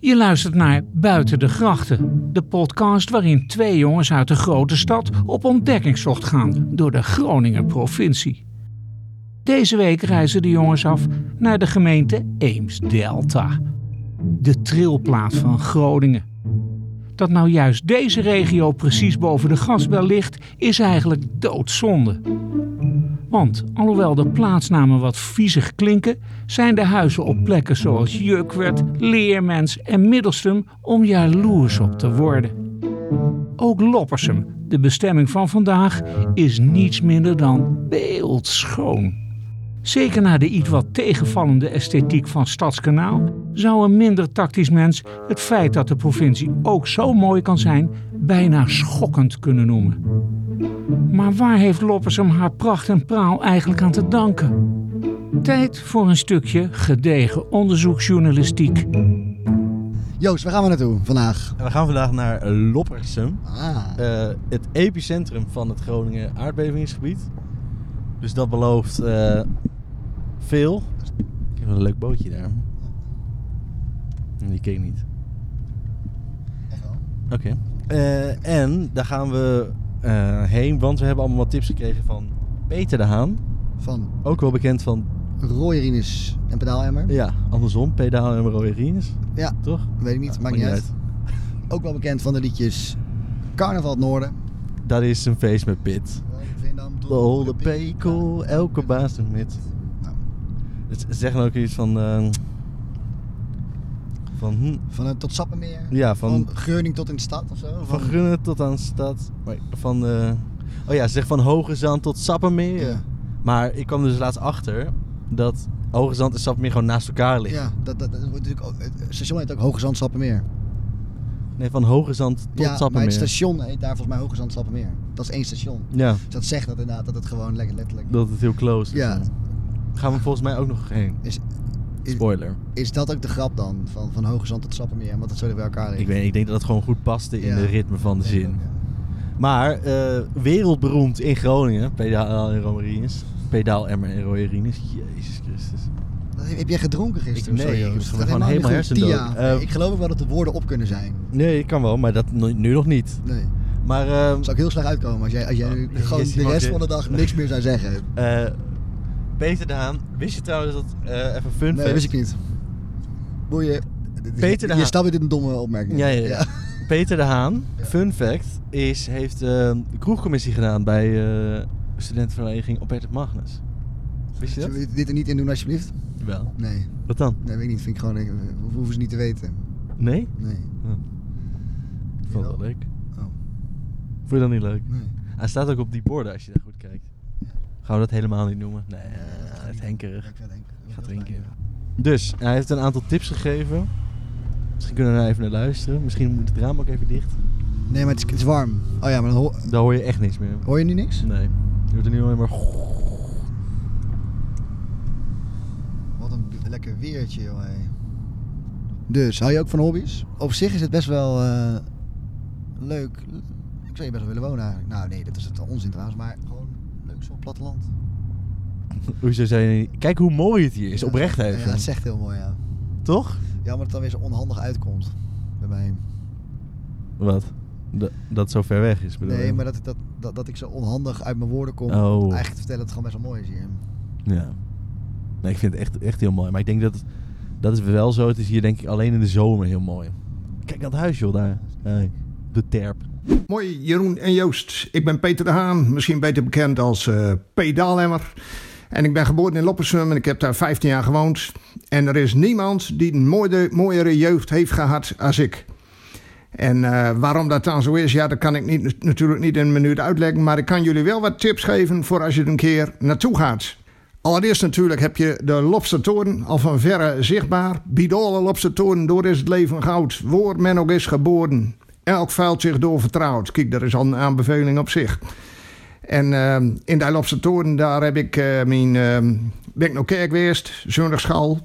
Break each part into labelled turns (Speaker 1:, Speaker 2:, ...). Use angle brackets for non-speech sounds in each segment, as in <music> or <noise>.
Speaker 1: Je luistert naar Buiten de Grachten, de podcast waarin twee jongens uit de grote stad op ontdekkingstocht gaan door de Groningen provincie. Deze week reizen de jongens af naar de gemeente Eemsdelta, de trilplaat van Groningen. Dat nou juist deze regio precies boven de gasbel ligt, is eigenlijk doodzonde. Want alhoewel de plaatsnamen wat viezig klinken, zijn de huizen op plekken zoals Jukwerd, Leermens en Middelstum om jaloers op te worden. Ook Loppersum, de bestemming van vandaag, is niets minder dan beeldschoon. Zeker na de iets wat tegenvallende esthetiek van Stadskanaal zou een minder tactisch mens het feit dat de provincie ook zo mooi kan zijn bijna schokkend kunnen noemen. Maar waar heeft Loppersum haar pracht en praal eigenlijk aan te danken? Tijd voor een stukje gedegen onderzoeksjournalistiek.
Speaker 2: Joost, waar gaan we naartoe vandaag?
Speaker 3: En we gaan vandaag naar Loppersum,
Speaker 2: Ah,
Speaker 3: eh, het epicentrum van het Groningen aardbevingsgebied. Dus dat belooft eh, veel. Ik heb een leuk bootje daar. Die keek niet.
Speaker 2: echt wel.
Speaker 3: Oké. Eh, en daar gaan we eh, heen, want we hebben allemaal wat tips gekregen van Peter de Haan.
Speaker 2: Van
Speaker 3: Ook wel bekend van,
Speaker 2: rooierines en pedaalemmer.
Speaker 3: ja, andersom, pedaal en rode rines,
Speaker 2: Ja,
Speaker 3: toch?
Speaker 2: weet ik niet,
Speaker 3: Ja,
Speaker 2: maakt niet uit. Ook wel bekend van de liedjes Carnaval het Noorden.
Speaker 3: Dat is een feest met Pit.
Speaker 2: Veendam,
Speaker 3: De holde pekel, elke baas een mit.
Speaker 2: Nou,
Speaker 3: Het zeggen ook iets van. eh, van, hm,
Speaker 2: Van het tot Sappemeer.
Speaker 3: Ja, van-
Speaker 2: Geurning tot in de stad of zo.
Speaker 3: van Grunnen tot aan stad. maar Van. eh, oh ja, ze zeggen van Hoge Zand tot Sappemeer.
Speaker 2: Ja.
Speaker 3: Maar ik kwam dus laatst achter dat Hoge Zand en Sappemeer gewoon naast elkaar liggen.
Speaker 2: Ja, dat, dat, dat wordt natuurlijk ook, het station heet ook Hoge Zand Sappemeer.
Speaker 3: Nee, van Hoge Zand tot
Speaker 2: ja, maar
Speaker 3: Sappemeer.
Speaker 2: het station heet daar volgens mij Hoge Zand Sappemeer. Dat is één station.
Speaker 3: Ja,
Speaker 2: Dus dat zegt dat inderdaad, dat het gewoon lekker letterlijk...
Speaker 3: dat het heel close is.
Speaker 2: Ja.
Speaker 3: Gaan we volgens mij ook nog heen.
Speaker 2: Is, is,
Speaker 3: Spoiler.
Speaker 2: is dat ook de grap dan? Van, van Hoge Zand tot Sappemeer, want dat zo bij elkaar ligt.
Speaker 3: Ik, weet, ik denk dat het gewoon goed paste in
Speaker 2: Ja.
Speaker 3: de ritme van de
Speaker 2: Denk
Speaker 3: zin.
Speaker 2: ik ook, ja.
Speaker 3: Maar eh, wereldberoemd in Groningen, pedaal en romerines. Pedaal, emmer en romerines. Jezus Christus.
Speaker 2: Dat- Heb jij gedronken gisteren?
Speaker 3: Ik-
Speaker 2: of zo,
Speaker 3: nee, ik
Speaker 2: Joost?
Speaker 3: heb
Speaker 2: Dat
Speaker 3: gewoon
Speaker 2: niet
Speaker 3: helemaal
Speaker 2: goed.
Speaker 3: hersendood.
Speaker 2: Tia,
Speaker 3: Eh,
Speaker 2: ik geloof ook wel dat de woorden op kunnen zijn.
Speaker 3: Nee, kan wel, maar dat nu nu nog niet.
Speaker 2: Nee.
Speaker 3: Maar ehm,
Speaker 2: Dat zou ik heel slecht uitkomen als jij, als jij nu
Speaker 3: Oh,
Speaker 2: gewoon
Speaker 3: yes,
Speaker 2: de
Speaker 3: iemand
Speaker 2: rest
Speaker 3: dit.
Speaker 2: van de dag niks meer zou zeggen.
Speaker 3: eh, Peter Daan, wist je trouwens dat, eh, even fun
Speaker 2: Nee,
Speaker 3: fact.
Speaker 2: wist ik niet. Boeien.
Speaker 3: Peter de
Speaker 2: Je
Speaker 3: Haan.
Speaker 2: stapt weer in een domme opmerking.
Speaker 3: Ja, ja, ja.
Speaker 2: <laughs>
Speaker 3: Peter de Haan, fun fact, is, heeft ehm kroegcommissie gedaan bij eh, studentenvereniging Opert Magnus. Wist je dat?
Speaker 2: Zullen we dit er niet in doen alsjeblieft?
Speaker 3: Wel.
Speaker 2: Nee.
Speaker 3: Wat dan?
Speaker 2: Nee, weet ik niet. Vind ik gewoon... eh, hoe- hoeven ze niet te weten.
Speaker 3: Nee?
Speaker 2: Nee.
Speaker 3: Hm. Ik vond het
Speaker 2: Jawel.
Speaker 3: wel leuk.
Speaker 2: Oh.
Speaker 3: Vond je dat niet leuk?
Speaker 2: Nee.
Speaker 3: Hij staat ook op die borden als je daar goed kijkt. Gaan we dat helemaal niet noemen? Nee, het is henkerig.
Speaker 2: Ik ga denken.
Speaker 3: Gaat drinken. Dus, hij heeft een aantal tips gegeven. Misschien kunnen we daar even naar luisteren. Misschien moet het raam ook even dicht.
Speaker 2: Nee, maar het is, het is warm. Oh ja, maar dan hoor,
Speaker 3: Daar hoor je echt niks meer.
Speaker 2: hoor je nu niks?
Speaker 3: Nee. Je hoort er nu alleen maar... <laughs>
Speaker 2: Wat een b- lekker weertje, joh. hé. Dus, hou je ook van hobby's? Op zich is het best wel eh, leuk. Ik zou je best wel willen wonen eigenlijk. Nou nee, dat is het onzin trouwens, maar gewoon leuk zo'n platteland.
Speaker 3: Hoezo zei je niet- Kijk hoe mooi het hier is.
Speaker 2: Ja,
Speaker 3: Oprecht
Speaker 2: Ja,
Speaker 3: even.
Speaker 2: dat is echt heel mooi, ja.
Speaker 3: Toch?
Speaker 2: Jammer dat het dan weer zo onhandig uitkomt bij mij.
Speaker 3: Wat? Dat, dat zo ver weg is, bedoel
Speaker 2: Nee,
Speaker 3: je?
Speaker 2: maar dat, dat, dat, dat ik zo onhandig uit mijn woorden kom.
Speaker 3: Oh.
Speaker 2: om Eigenlijk te vertellen dat het gewoon best wel mooi is hier.
Speaker 3: Ja. Nee, ik vind het echt, echt heel mooi. Maar ik denk dat... het- Dat is wel zo. Het is hier denk ik alleen in de zomer heel mooi. Kijk naar het huis, joh, daar. Hey, De terp.
Speaker 4: Mooi, Jeroen en Joost. Ik ben Peter de Haan, misschien beter bekend als eh P. Daalhemmer. En ik ben geboren in Loppersum en ik heb daar 15 jaar gewoond. En er is niemand die een mooiere, mooiere jeugd heeft gehad als ik. En eh, waarom dat dan zo is, ja, dat kan ik niet, natuurlijk niet in een minuut uitleggen. Maar ik kan jullie wel wat tips geven voor als je er een keer naartoe gaat. Allereerst natuurlijk heb je de Lopstertoren al van verre zichtbaar. Bidole Lopstertoren, door is het leven goud. Woord men ook is geboren. Elk vuilt zich door vertrouwd. Kijk, dat is al een aanbeveling op zich. En ehm, in de Lopstertoren, daar heb ik, eh, mijn, ehm, ben ik nog kerk geweest, zondagschool.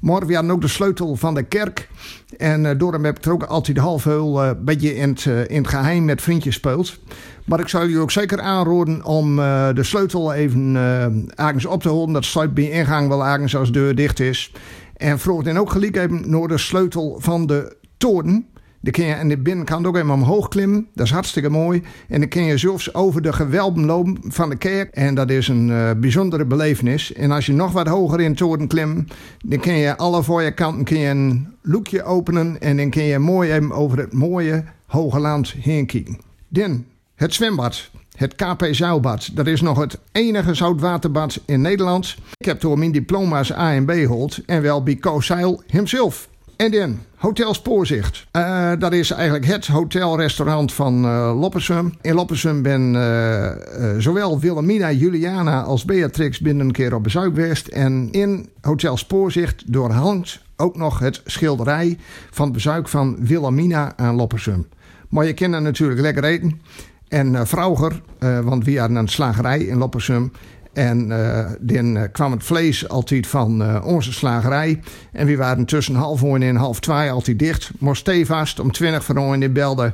Speaker 4: Maar we hadden ook de sleutel van de kerk. En eh daarom heb ik er ook altijd half heel eh, een beetje in het, eh, in het geheim met vriendjes speeld. Maar ik zou jullie ook zeker aanraden om eh, de sleutel even eh ergens op te holen. Dat sluit bij ingang wel ergens als de deur dicht is. En vroeg dan ook gelijk even naar de sleutel van de toren. Dan kun je aan de binnenkant ook even omhoog klimmen. Dat is hartstikke mooi. En dan kun je zelfs over de gewelven lopen van de kerk. En dat is een eh, bijzondere belevenis. En als je nog wat hoger in de toren klimt... dan kun je alle voor je kanten kun je een loekje openen... en dan kun je mooi even over het mooie hoge land heen kijken. Dan het zwembad. Het KP Zouwbad. Dat is nog het enige zoutwaterbad in Nederland. Ik heb door mijn diploma's A en B gehold. En wel bij Co Zeil himself. En dan, Hotel Spoorzicht. Eh, dat is eigenlijk het hotelrestaurant van eh, Loppersum. In Loppersum ben eh, eh, zowel Wilhelmina, Juliana als Beatrix binnen een keer op bezoek geweest. En in Hotel Spoorzicht doorhangt ook nog het schilderij van het bezoek van Wilhelmina aan Loppersum. Maar je kan er natuurlijk lekker eten. En eh Vrouger, eh, want we hadden een slagerij in Loppersum. En eh, dan eh, kwam het vlees altijd van eh, onze slagerij. En we waren tussen half één en half twee altijd dicht. Maar stevast om twintig van één in belde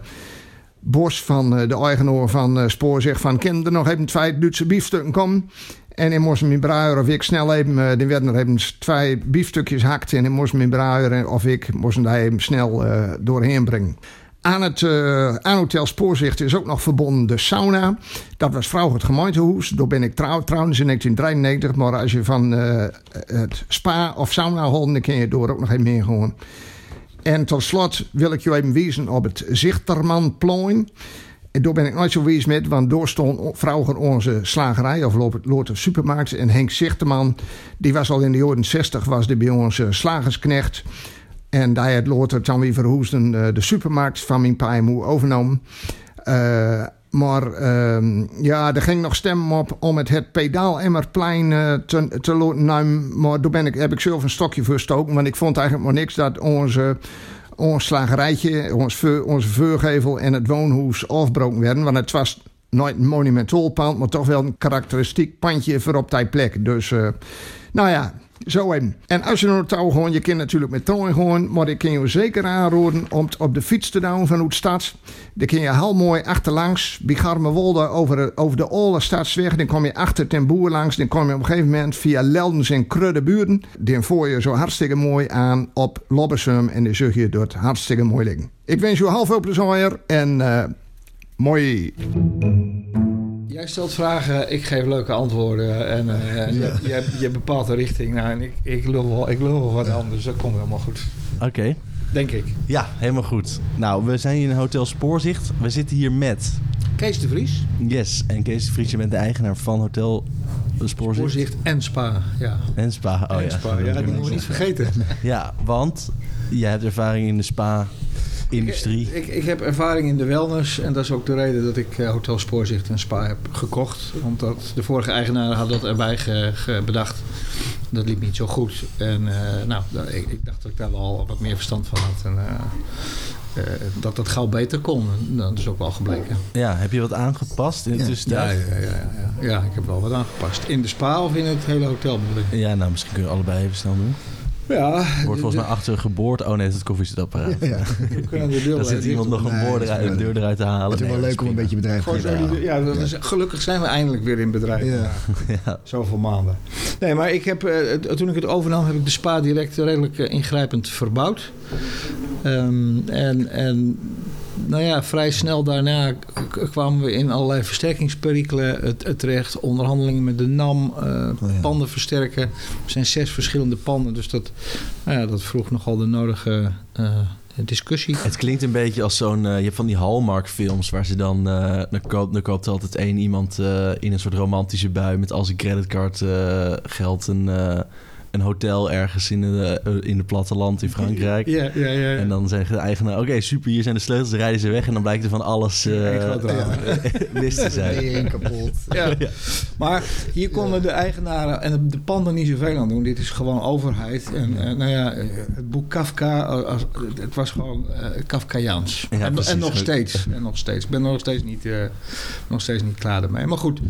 Speaker 4: Bos van eh, de eigenaar van eh, Spoor zegt van... Kan er nog even twee Duitse biefstukken komen? En ik moest mijn bruier of ik snel even... eh, er werden er even twee biefstukjes hakt. En ik moest mijn bruier en- of ik moest daar even snel eh, doorheen brengen. Aan het eh, aan Hotel Spoorzicht is ook nog verbonden de sauna. Dat was vrouw het gemeentehoes. Daar ben ik trouw, trouwens in 1993. Maar als je van eh, het spa of sauna holt, dan kun je door ook nog even meer gewoon. En tot slot wil ik je even wijzen op het Zichtermanplein. En daar ben ik nooit zo wees met, want door stond o- vroeger onze slagerij of Lo- Lotte Supermarkt. En Henk Zichterman, die was al in de jaren 60 was die bij onze slagersknecht. En daar had Lotte dan weer verhoesden eh, de supermarkt van mijn pa en moe overnomen. Eh, maar ehm, ja, er ging nog stem op om het, het pedaalemmerplein eh, te, te laten nemen. Maar daar ben ik, heb ik zelf een stokje voor gestoken. Want ik vond eigenlijk maar niks dat onze, ons slagerijtje, ons veur- onze veurgevel en het woonhoes afbroken werden. Want het was nooit een monumentaal pand, maar toch wel een karakteristiek pandje voor op die plek. Dus eh, nou ja, zo even. En als je naar het touw gaat, je kunt natuurlijk met trein gaan. Maar ik kan je zeker aanraden om t- op de fiets te doen vanuit de stad. Dan kun je heel mooi achterlangs, bij Garmerwolde, over, de- over de Ole Stadsweg. Dan kom je achter ten Boer langs. Dan kom je op een gegeven moment via Leldens en Kruddeburen. Dan voer je zo hartstikke mooi aan op Lobbersum. En dan zul je het hartstikke mooi liggen. Ik wens je half veel plezier en eh, mooi.
Speaker 5: Jij stelt vragen, ik geef leuke antwoorden en eh, eh,
Speaker 2: Ja.
Speaker 5: je, je, je bepaalt de richting. Nou, en ik, ik, lul wel, ik lul wel wat anders, dat komt helemaal goed.
Speaker 3: Oké.
Speaker 5: Denk ik.
Speaker 3: Ja, helemaal goed. Nou, we zijn hier in Hotel Spoorzicht. We zitten hier met
Speaker 5: Kees de Vries,
Speaker 3: Yes en Kees de Vries. Je bent de eigenaar van Hotel Spoorzicht.
Speaker 5: voorzicht en spa. Ja,
Speaker 3: En Spa. Oh
Speaker 5: en
Speaker 3: ja.
Speaker 5: spa. ja, die moeten we niet vergeten.
Speaker 3: Ja, want jij hebt ervaring in de spa-industrie.
Speaker 5: Ik, ik heb ervaring in de wellness en dat is ook de reden dat ik eh, Hotel Spoorzicht en Spa heb gekocht. Want dat, de vorige eigenaar had dat erbij ge- ge- bedacht. Dat liep niet zo goed. En eh, nou, da- ik, ik dacht dat ik daar wel wat meer verstand van had. En eh, eh, dat dat gauw beter kon. En dat is ook wel gebleken.
Speaker 3: Ja, heb je wat aangepast in de
Speaker 2: Ja.
Speaker 5: Ja,
Speaker 3: tussentijd?
Speaker 5: ja, ja, ja, ja. ja, ik heb wel wat aangepast. In de spa of in het hele hotel bedoel ik?
Speaker 3: Ja, nou, misschien kunnen we allebei even snel doen.
Speaker 5: Ja,
Speaker 3: Wordt volgens mij achter geboord. Oh nee, dat is het koffiezetapparaat.
Speaker 2: <laughs> Ja, ja.
Speaker 5: we kunnen de
Speaker 3: <laughs>
Speaker 5: deur
Speaker 3: Daar zit
Speaker 5: dicht
Speaker 3: iemand nog een,
Speaker 2: Nee,
Speaker 3: boord
Speaker 2: dat is
Speaker 3: eruit, een
Speaker 2: prima.
Speaker 3: deur eruit te halen.
Speaker 2: Het is wel
Speaker 3: Nee,
Speaker 2: leuk om een
Speaker 3: prima.
Speaker 2: beetje bedrijf
Speaker 5: Gooi
Speaker 2: te
Speaker 5: zo die
Speaker 2: hebben.
Speaker 5: deur- Ja, dat is, gelukkig zijn we eindelijk weer in bedrijf.
Speaker 2: Ja.
Speaker 3: <laughs> Ja.
Speaker 5: Zoveel maanden. Nee, maar ik heb, eh, t- toen ik het overnam, heb ik de spa direct redelijk eh, ingrijpend verbouwd. Ehm, en, en nou ja, vrij snel daarna k- k- kwamen we in allerlei versterkingsperikelen het, het terecht. Onderhandelingen met de NAM, eh,
Speaker 2: ja.
Speaker 5: panden versterken. Er zijn zes verschillende panden, dus dat, nou ja, dat vroeg nogal de nodige eh, discussie.
Speaker 3: Het klinkt een beetje als zo'n... eh, je hebt van die Hallmark-films waar ze dan... eh dan, koopt, dan koopt altijd één iemand eh, in een soort romantische bui... met al zijn creditcard eh, geld een, eh, een hotel ergens in de, eh, in de platteland in Frankrijk.
Speaker 5: Ja, ja, ja. ja.
Speaker 3: En dan zeggen de eigenaar... Oké, super, hier zijn de sleutels, dan rijden ze weg. En dan blijkt er van alles
Speaker 5: Ja, ik
Speaker 3: eh
Speaker 5: ga het raden.
Speaker 3: <laughs> wist te zijn.
Speaker 2: Tering kapot.
Speaker 5: <laughs> Ja. Maar hier konden de eigenaren en de panden niet zoveel aan doen. Dit is gewoon overheid. En eh, nou ja, eh, het boek Kafka, eh, als- het was gewoon eh Kafkaiaans.
Speaker 3: Ja,
Speaker 5: en,
Speaker 3: precies.
Speaker 5: en nog steeds. En nog steeds. Ik ben er nog steeds niet, eh, nog steeds niet klaar ermee. Maar goed,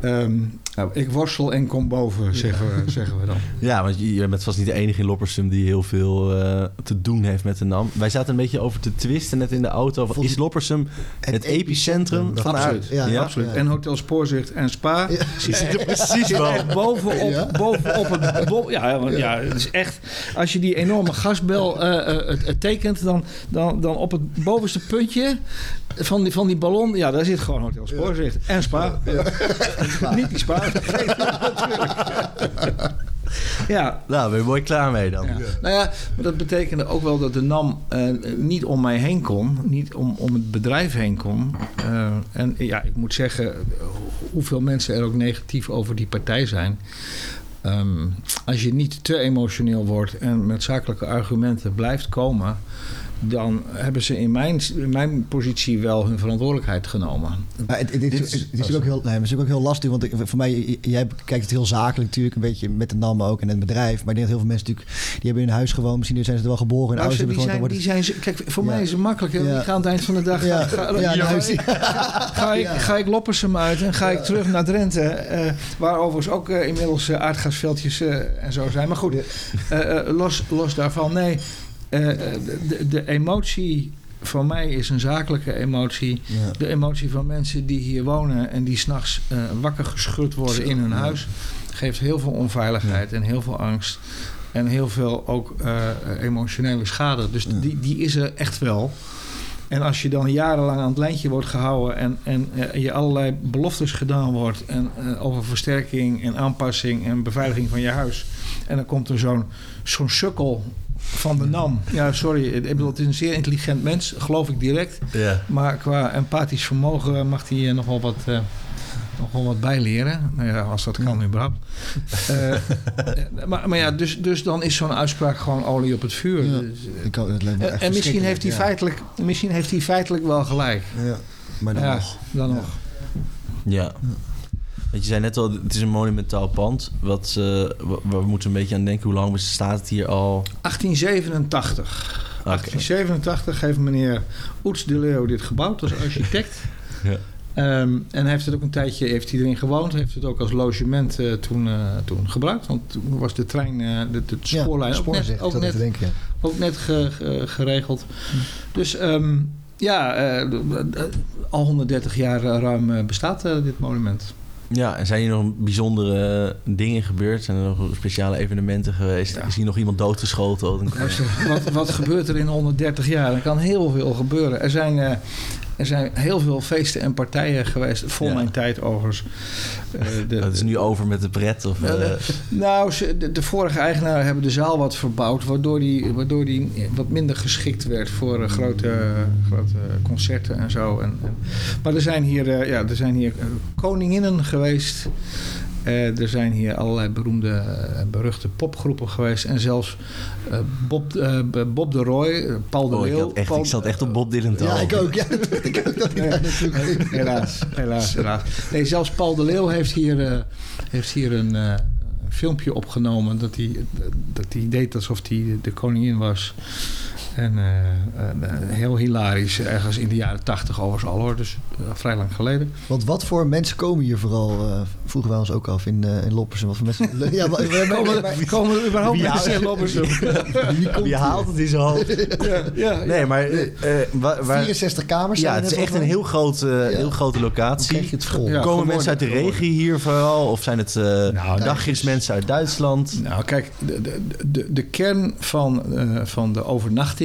Speaker 5: eh, Ehm, nou, ik worstel en kom boven, zeggen, we, zeggen we dan.
Speaker 3: Ja, want je je bent vast niet de enige in Loppersum die heel veel eh, te doen heeft met de NAM. Wij zaten een beetje over te twisten net in de auto. Van,
Speaker 2: Vond-
Speaker 3: is Loppersum het, epicentrum van haar?
Speaker 5: absoluut.
Speaker 2: Ja,
Speaker 3: Ja,
Speaker 2: absoluut.
Speaker 5: En Hotel Spoorzicht en Spa.
Speaker 2: Ja.
Speaker 5: Zit
Speaker 3: Precies
Speaker 5: zit
Speaker 3: wel.
Speaker 5: echt bovenop,
Speaker 2: Ja.
Speaker 5: bovenop het... bo- ja, want ja, het is echt... Als je die enorme gasbel eh, eh, het- het tekent, dan, dan, dan op het bovenste puntje van die, van die ballon... Ja, daar zit gewoon Hotel Spoorzicht en Spa. Niet die Spa. ja,
Speaker 3: Nou, ben je mooi klaar mee dan.
Speaker 5: ja. Nou ja, maar dat betekende ook wel dat de NAM eh, niet om mij heen kon. Niet om, om het bedrijf heen kon. Eh, en ja, ik moet zeggen, hoeveel mensen er ook negatief over die partij zijn. Ehm, als je niet te emotioneel wordt en met zakelijke argumenten blijft komen... dan hebben ze in mijn, in mijn positie wel hun verantwoordelijkheid genomen.
Speaker 2: Maar het, het- het- het- het is natuurlijk ook heel, nee, maar het is natuurlijk ook heel lastig, want ik- voor mij, j- jij kijkt het heel zakelijk natuurlijk, een beetje met de NAM ook en het bedrijf. Maar ik denk dat heel veel mensen natuurlijk, die hebben in huis gewoond, misschien zijn ze er wel geboren en
Speaker 5: Nou,
Speaker 2: ouders
Speaker 5: ze-
Speaker 2: hebben
Speaker 5: die,
Speaker 2: gewoon,
Speaker 5: zijn,
Speaker 2: dan wordt
Speaker 5: die zijn, ze- kijk, voor
Speaker 2: Ja.
Speaker 5: mij is het makkelijk. hè, want
Speaker 2: Ja.
Speaker 5: Die gaan aan het eind van de dag...
Speaker 2: Ja.
Speaker 5: <laughs> ga-
Speaker 2: Ja,
Speaker 5: ga-
Speaker 2: nou,
Speaker 5: ga- Ga ik,
Speaker 2: Ja.
Speaker 5: ga ik Loppersum uit en ga ik terug naar Drenthe. eh, waar overigens ook eh, inmiddels eh, aardgasveldjes eh, en zo zijn. Maar goed, eh, eh, los, los daarvan. Nee, eh, eh, de, de emotie van mij is een zakelijke emotie.
Speaker 2: Ja.
Speaker 5: De emotie van mensen die hier wonen en die s'nachts eh wakker geschud worden in hun huis. Geeft heel veel onveiligheid en heel veel angst. En heel veel ook eh, emotionele schade. Dus die, die is er echt wel. En als je dan jarenlang aan het lijntje wordt gehouden en, en eh, je allerlei beloftes gedaan wordt en, eh, over versterking en aanpassing en beveiliging van je huis. En dan komt er zo'n zo'n sukkel van de NAM. Ja, sorry, ik bedoel, het is een zeer intelligent mens, geloof ik direct.
Speaker 3: Ja.
Speaker 5: Maar qua empathisch vermogen mag hij eh, nog wel wat, eh, nog wel wat bijleren. Nou ja, als dat kan,
Speaker 2: <laughs>
Speaker 5: überhaupt. Eh, eh, maar, maar ja, dus, dus dan is zo'n uitspraak gewoon olie op het vuur.
Speaker 2: Ja.
Speaker 5: Dus, eh,
Speaker 2: Ik kan- het lijkt me
Speaker 5: en-
Speaker 2: echt
Speaker 5: en misschien heeft, hij
Speaker 2: verschrikkelijk,
Speaker 5: feitelijk, misschien heeft hij feitelijk wel gelijk.
Speaker 2: Ja. Ja. Maar dan
Speaker 5: ja,
Speaker 2: nog.
Speaker 5: dan
Speaker 2: Ja.
Speaker 5: nog.
Speaker 3: Ja. Want je zei net al, het is een monumentaal pand. Wat, eh, wa- waar we moeten een beetje aan denken. Hoe lang staat het hier al?
Speaker 5: 1887.
Speaker 3: Oké.
Speaker 5: 1887 heeft meneer Oets de Leeuw dit gebouwd als
Speaker 3: <laughs>
Speaker 5: architect.
Speaker 3: Ja.
Speaker 5: Ehm, en heeft het ook een tijdje heeft hij erin gewoond. Heeft het ook als logement eh, toen, eh, toen gebruikt. Want toen was de trein, eh, de, de
Speaker 2: Ja,
Speaker 5: spoorlijn ook
Speaker 2: spoorzicht,
Speaker 5: net,
Speaker 2: ik
Speaker 5: ook
Speaker 2: zat net
Speaker 5: net
Speaker 2: te denken.
Speaker 5: ook net ge- ge- geregeld. Dus ehm, ja, eh, eh, al 130 jaar eh, ruim eh, bestaat eh, dit monument.
Speaker 3: Ja, en zijn hier nog bijzondere eh, dingen gebeurd? Zijn er nog speciale evenementen geweest?
Speaker 5: Ja.
Speaker 3: Is hier nog iemand doodgeschoten? Wat een-
Speaker 5: Luister, wat, wat gebeurt er in 130 jaar? Er kan heel veel gebeuren. Er zijn, eh, er zijn heel veel feesten en partijen geweest. Voor
Speaker 3: Ja.
Speaker 5: mijn tijd overigens. Eh, de-
Speaker 3: Het is nu over met de pret. Of, eh,
Speaker 5: Eh, Nou, ze- de, de vorige eigenaren hebben de zaal wat verbouwd, waardoor die, waardoor die wat minder geschikt werd voor eh, grote, grote concerten en zo. En, en- maar er zijn hier, eh, ja, er zijn hier eh, koninginnen geweest. Eh, er zijn hier allerlei beroemde eh, en beruchte popgroepen geweest. En zelfs eh, Bob, eh, Bob de Roy, eh, Paul de
Speaker 3: oh, ik,
Speaker 5: Leeuw.
Speaker 3: had echt,
Speaker 5: Paul-
Speaker 3: ik zat echt op Bob Dylan te
Speaker 2: Ja,
Speaker 3: houden.
Speaker 2: ik ook. Ja, <laughs> dat dacht ik ook dat ik daar natuurlijk...
Speaker 5: Helaas, helaas, helaas. Nee, zelfs Paul de Leeuw heeft hier, eh, heeft hier een, eh, een filmpje opgenomen dat hij, dat hij deed alsof hij de koningin was. En eh, en, eh, heel hilarisch, ergens in de jaren tachtig overigens al hoor, dus eh, vrij lang geleden.
Speaker 2: Want wat voor mensen komen hier vooral, eh, vroegen wij ons ook af in, eh in Loppersen. Wat voor mensen... <laughs> ja, maar, maar- maar- maar-
Speaker 5: Komen, komen er überhaupt
Speaker 3: Wie
Speaker 5: mensen in Loppersum?
Speaker 2: wie komt
Speaker 3: Je
Speaker 2: hier?
Speaker 3: haalt het in zijn hoofd.
Speaker 5: Ja, ja.
Speaker 3: Nee, maar... eh, eh, wa- waar,
Speaker 2: 64 kamers
Speaker 3: ja,
Speaker 2: zijn er
Speaker 3: het is
Speaker 2: net
Speaker 3: echt
Speaker 2: over.
Speaker 3: een heel grote,
Speaker 2: Ja.
Speaker 3: heel grote
Speaker 2: Dan
Speaker 3: locatie.
Speaker 2: krijg je het vol.
Speaker 5: Ja.
Speaker 3: Komen
Speaker 5: geworden,
Speaker 3: mensen uit de
Speaker 5: geworden.
Speaker 3: regio hier vooral? Of zijn het eh
Speaker 2: Nou,
Speaker 5: kijk
Speaker 3: dagjes mensen uit Duitsland?
Speaker 5: Nou, kijk, de, de, de, de kern van, eh, van de overnachtingen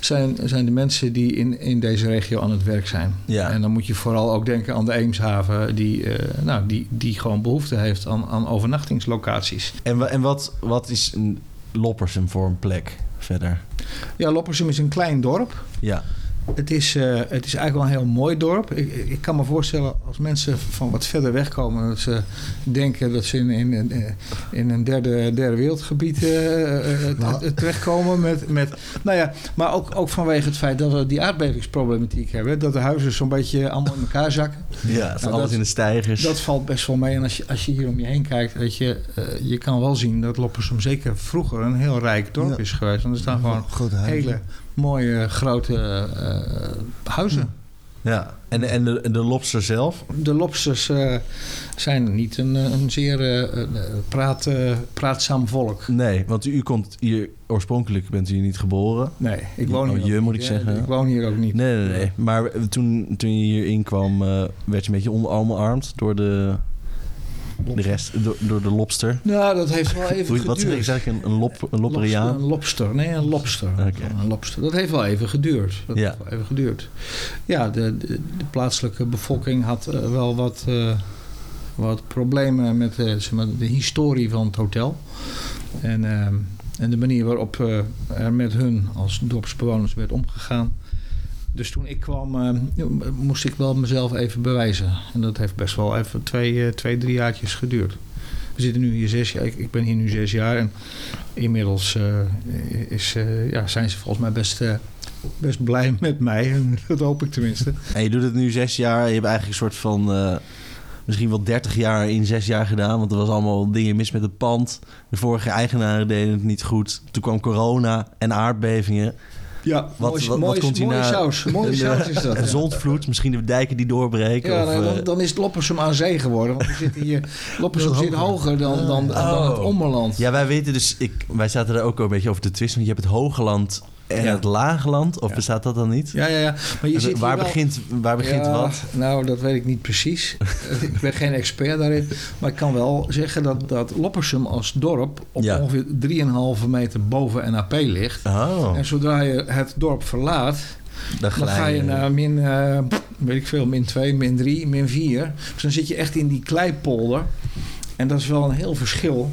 Speaker 5: zijn, zijn de mensen die in, in deze regio aan het werk zijn.
Speaker 3: Ja.
Speaker 5: En dan moet je vooral ook denken aan de Eemshaven, die, eh, nou, die, die gewoon behoefte heeft aan, aan overnachtingslocaties.
Speaker 3: En, wa- en wat, wat is een Loppersum voor een plek verder?
Speaker 5: Ja, Loppersum is een klein dorp.
Speaker 3: Ja,
Speaker 5: Het is, eh, het is eigenlijk wel een heel mooi dorp. Ik, ik ik kan me voorstellen als mensen van wat verder weg komen... dat ze denken dat ze in, in, in, eh, in een derde, derde wereldgebied eh, eh,
Speaker 2: Nou.
Speaker 5: eh, terechtkomen. Met, met, nou ja, maar ook, ook vanwege het feit dat we die aardbevingsproblematiek hebben. Dat de huizen zo'n beetje allemaal in elkaar zakken.
Speaker 3: ja het zijn
Speaker 5: Nou,
Speaker 3: alles
Speaker 5: dat-
Speaker 3: in de stijgers.
Speaker 5: Dat valt best wel mee. En als je, als je hier om je heen kijkt, weet je, eh, je kan wel zien dat Loppersum zeker vroeger een heel rijk dorp
Speaker 2: Ja.
Speaker 5: is geweest. Want er
Speaker 2: Oh,
Speaker 5: staan gewoon
Speaker 2: Grote huizen.
Speaker 5: hele mooie grote eh, huizen.
Speaker 3: Ja. En, en, de, en de lobster zelf?
Speaker 5: De lobsters eh, zijn niet een, eh, een zeer eh, eh, praat, eh, praatzaam volk.
Speaker 3: Nee, want u komt hier... Oorspronkelijk bent u hier niet geboren.
Speaker 5: Nee, ik
Speaker 3: Je-
Speaker 5: woon
Speaker 3: oh,
Speaker 5: hier ook
Speaker 3: je
Speaker 5: niet,
Speaker 3: moet ik
Speaker 5: hè.
Speaker 3: zeggen.
Speaker 5: Ik woon hier ook niet.
Speaker 3: Nee, nee, nee. Maar toen, toen je hier inkwam, eh, werd je een beetje omarmd door de, de rest, door, door de lobster.
Speaker 5: Nou, dat heeft
Speaker 3: <laughs>
Speaker 5: wel even
Speaker 3: Hoe,
Speaker 5: geduurd.
Speaker 3: wat is eigenlijk een, een, lop, een lopperiaan?
Speaker 5: Lobster, een lobster. Nee, een lobster.
Speaker 3: Oké.
Speaker 5: Een lobster. Dat heeft wel even geduurd. Dat
Speaker 3: Ja.
Speaker 5: heeft wel even geduurd. Ja, de, de, de plaatselijke bevolking had eh, wel wat, eh, wat problemen met eh, zeg maar, de historie van het hotel. En, eh, en de manier waarop eh, er met hun als dorpsbewoners werd omgegaan. Dus toen ik kwam, eh, moest ik wel mezelf even bewijzen. En dat heeft best wel even twee, eh, twee drie jaartjes geduurd. We zitten nu hier zes jaar. Ik, ik ben hier nu zes jaar. En inmiddels eh, is, eh, ja, zijn ze volgens mij best, eh, best blij <laughs> met mij. En dat hoop ik tenminste.
Speaker 3: En je doet het nu zes jaar. Je hebt eigenlijk een soort van... eh, misschien wel dertig jaar in zes jaar gedaan. Want er was allemaal dingen mis met het pand. De vorige eigenaren deden het niet goed. Toen kwam corona en aardbevingen.
Speaker 5: Ja,
Speaker 3: Wat-
Speaker 5: mooi,
Speaker 3: wat- wat
Speaker 5: mooi-
Speaker 3: komt hierna?
Speaker 5: mooie saus. Mooie
Speaker 3: En, eh,
Speaker 5: saus is
Speaker 3: <laughs>
Speaker 5: dat.
Speaker 3: Een
Speaker 5: ja.
Speaker 3: zondvloed. Misschien de dijken die doorbreken.
Speaker 5: Ja,
Speaker 3: of,
Speaker 5: nou,
Speaker 3: eh,
Speaker 5: dan, dan is het Loppersum aan zee geworden. Want we zitten hier,
Speaker 3: <laughs>
Speaker 5: Loppersum
Speaker 3: Dat is
Speaker 5: zit hoger dan, dan, dan het
Speaker 3: Oh.
Speaker 5: Ommerland.
Speaker 3: Ja, wij weten dus, ik, wij zaten daar ook al een beetje over te twisten. Want je hebt het hoge land en
Speaker 5: Ja.
Speaker 3: het lage land. Of
Speaker 5: Ja.
Speaker 3: bestaat dat dan niet?
Speaker 5: Ja, ja, ja. Maar je
Speaker 3: Dus
Speaker 5: ziet hier
Speaker 3: waar,
Speaker 5: wel-
Speaker 3: begint, waar begint
Speaker 5: Ja,
Speaker 3: wat?
Speaker 5: Nou, dat weet ik niet
Speaker 3: <laughs>
Speaker 5: precies. ik ben geen expert daarin. Maar ik kan wel zeggen dat, dat Loppersum als dorp op
Speaker 3: Ja.
Speaker 5: ongeveer 3,5 meter boven NAP ligt.
Speaker 3: Oh,
Speaker 5: En zodra je het dorp verlaat,
Speaker 3: dan
Speaker 5: dan ga
Speaker 3: glij
Speaker 5: je naar min, eh, weet ik veel, min 2, min 3, min 4. Dus dan zit je echt in die kleipolder. En dat is wel een heel verschil.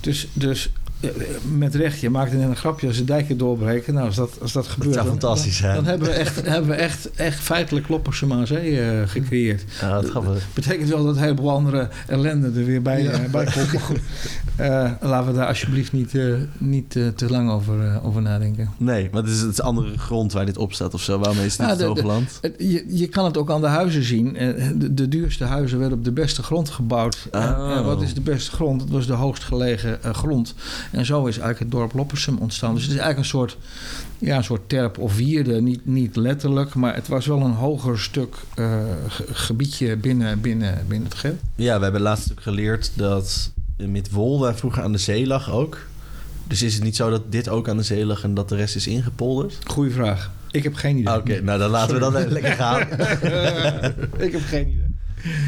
Speaker 5: Dus, dus eh, met recht, je maakt net een grapje als de dijken doorbreken. Nou, als dat, als dat gebeurt...
Speaker 3: Dat zou
Speaker 5: dan-
Speaker 3: fantastisch zijn.
Speaker 5: Dan hebben we echt, hebben we echt, echt feitelijk Loppersum aan zee eh, gecreëerd.
Speaker 3: Ja, wat grappig.
Speaker 5: Betekent wel dat een heleboel andere ellende er weer bij, eh, bij
Speaker 3: <laughs>
Speaker 5: komt. Maar goed, eh, laten we daar alsjeblieft niet, eh, niet eh, te lang over, eh, over nadenken.
Speaker 3: Nee, want het is, het is andere grond waar dit op staat of zo. Waarom is het niet
Speaker 5: Ah,
Speaker 3: het
Speaker 5: de-
Speaker 3: hoge
Speaker 5: de-
Speaker 3: land?
Speaker 5: Het- Je, je kan het ook aan de huizen zien. Eh, De, de duurste huizen werden op de beste grond gebouwd. En-
Speaker 3: Oh.
Speaker 5: En wat is de beste grond? Dat was de hoogstgelegen eh, grond. En zo is eigenlijk het dorp Loppersum ontstaan. Dus het is eigenlijk een soort, ja, een soort terp of wierde. Niet, niet letterlijk, maar het was wel een hoger stuk eh, ge- gebiedje binnen, binnen, binnen het geheel.
Speaker 3: Ja, we hebben laatst ook geleerd dat Midwolda vroeger aan de zee lag ook. Dus is het niet zo dat dit ook aan de zee lag en dat de rest is ingepolderd?
Speaker 5: Goeie vraag. Ik heb geen idee.
Speaker 3: Ah, Oké, nou dan laten we dat even lekker
Speaker 5: <laughs>
Speaker 3: gaan.
Speaker 5: Ik heb geen idee.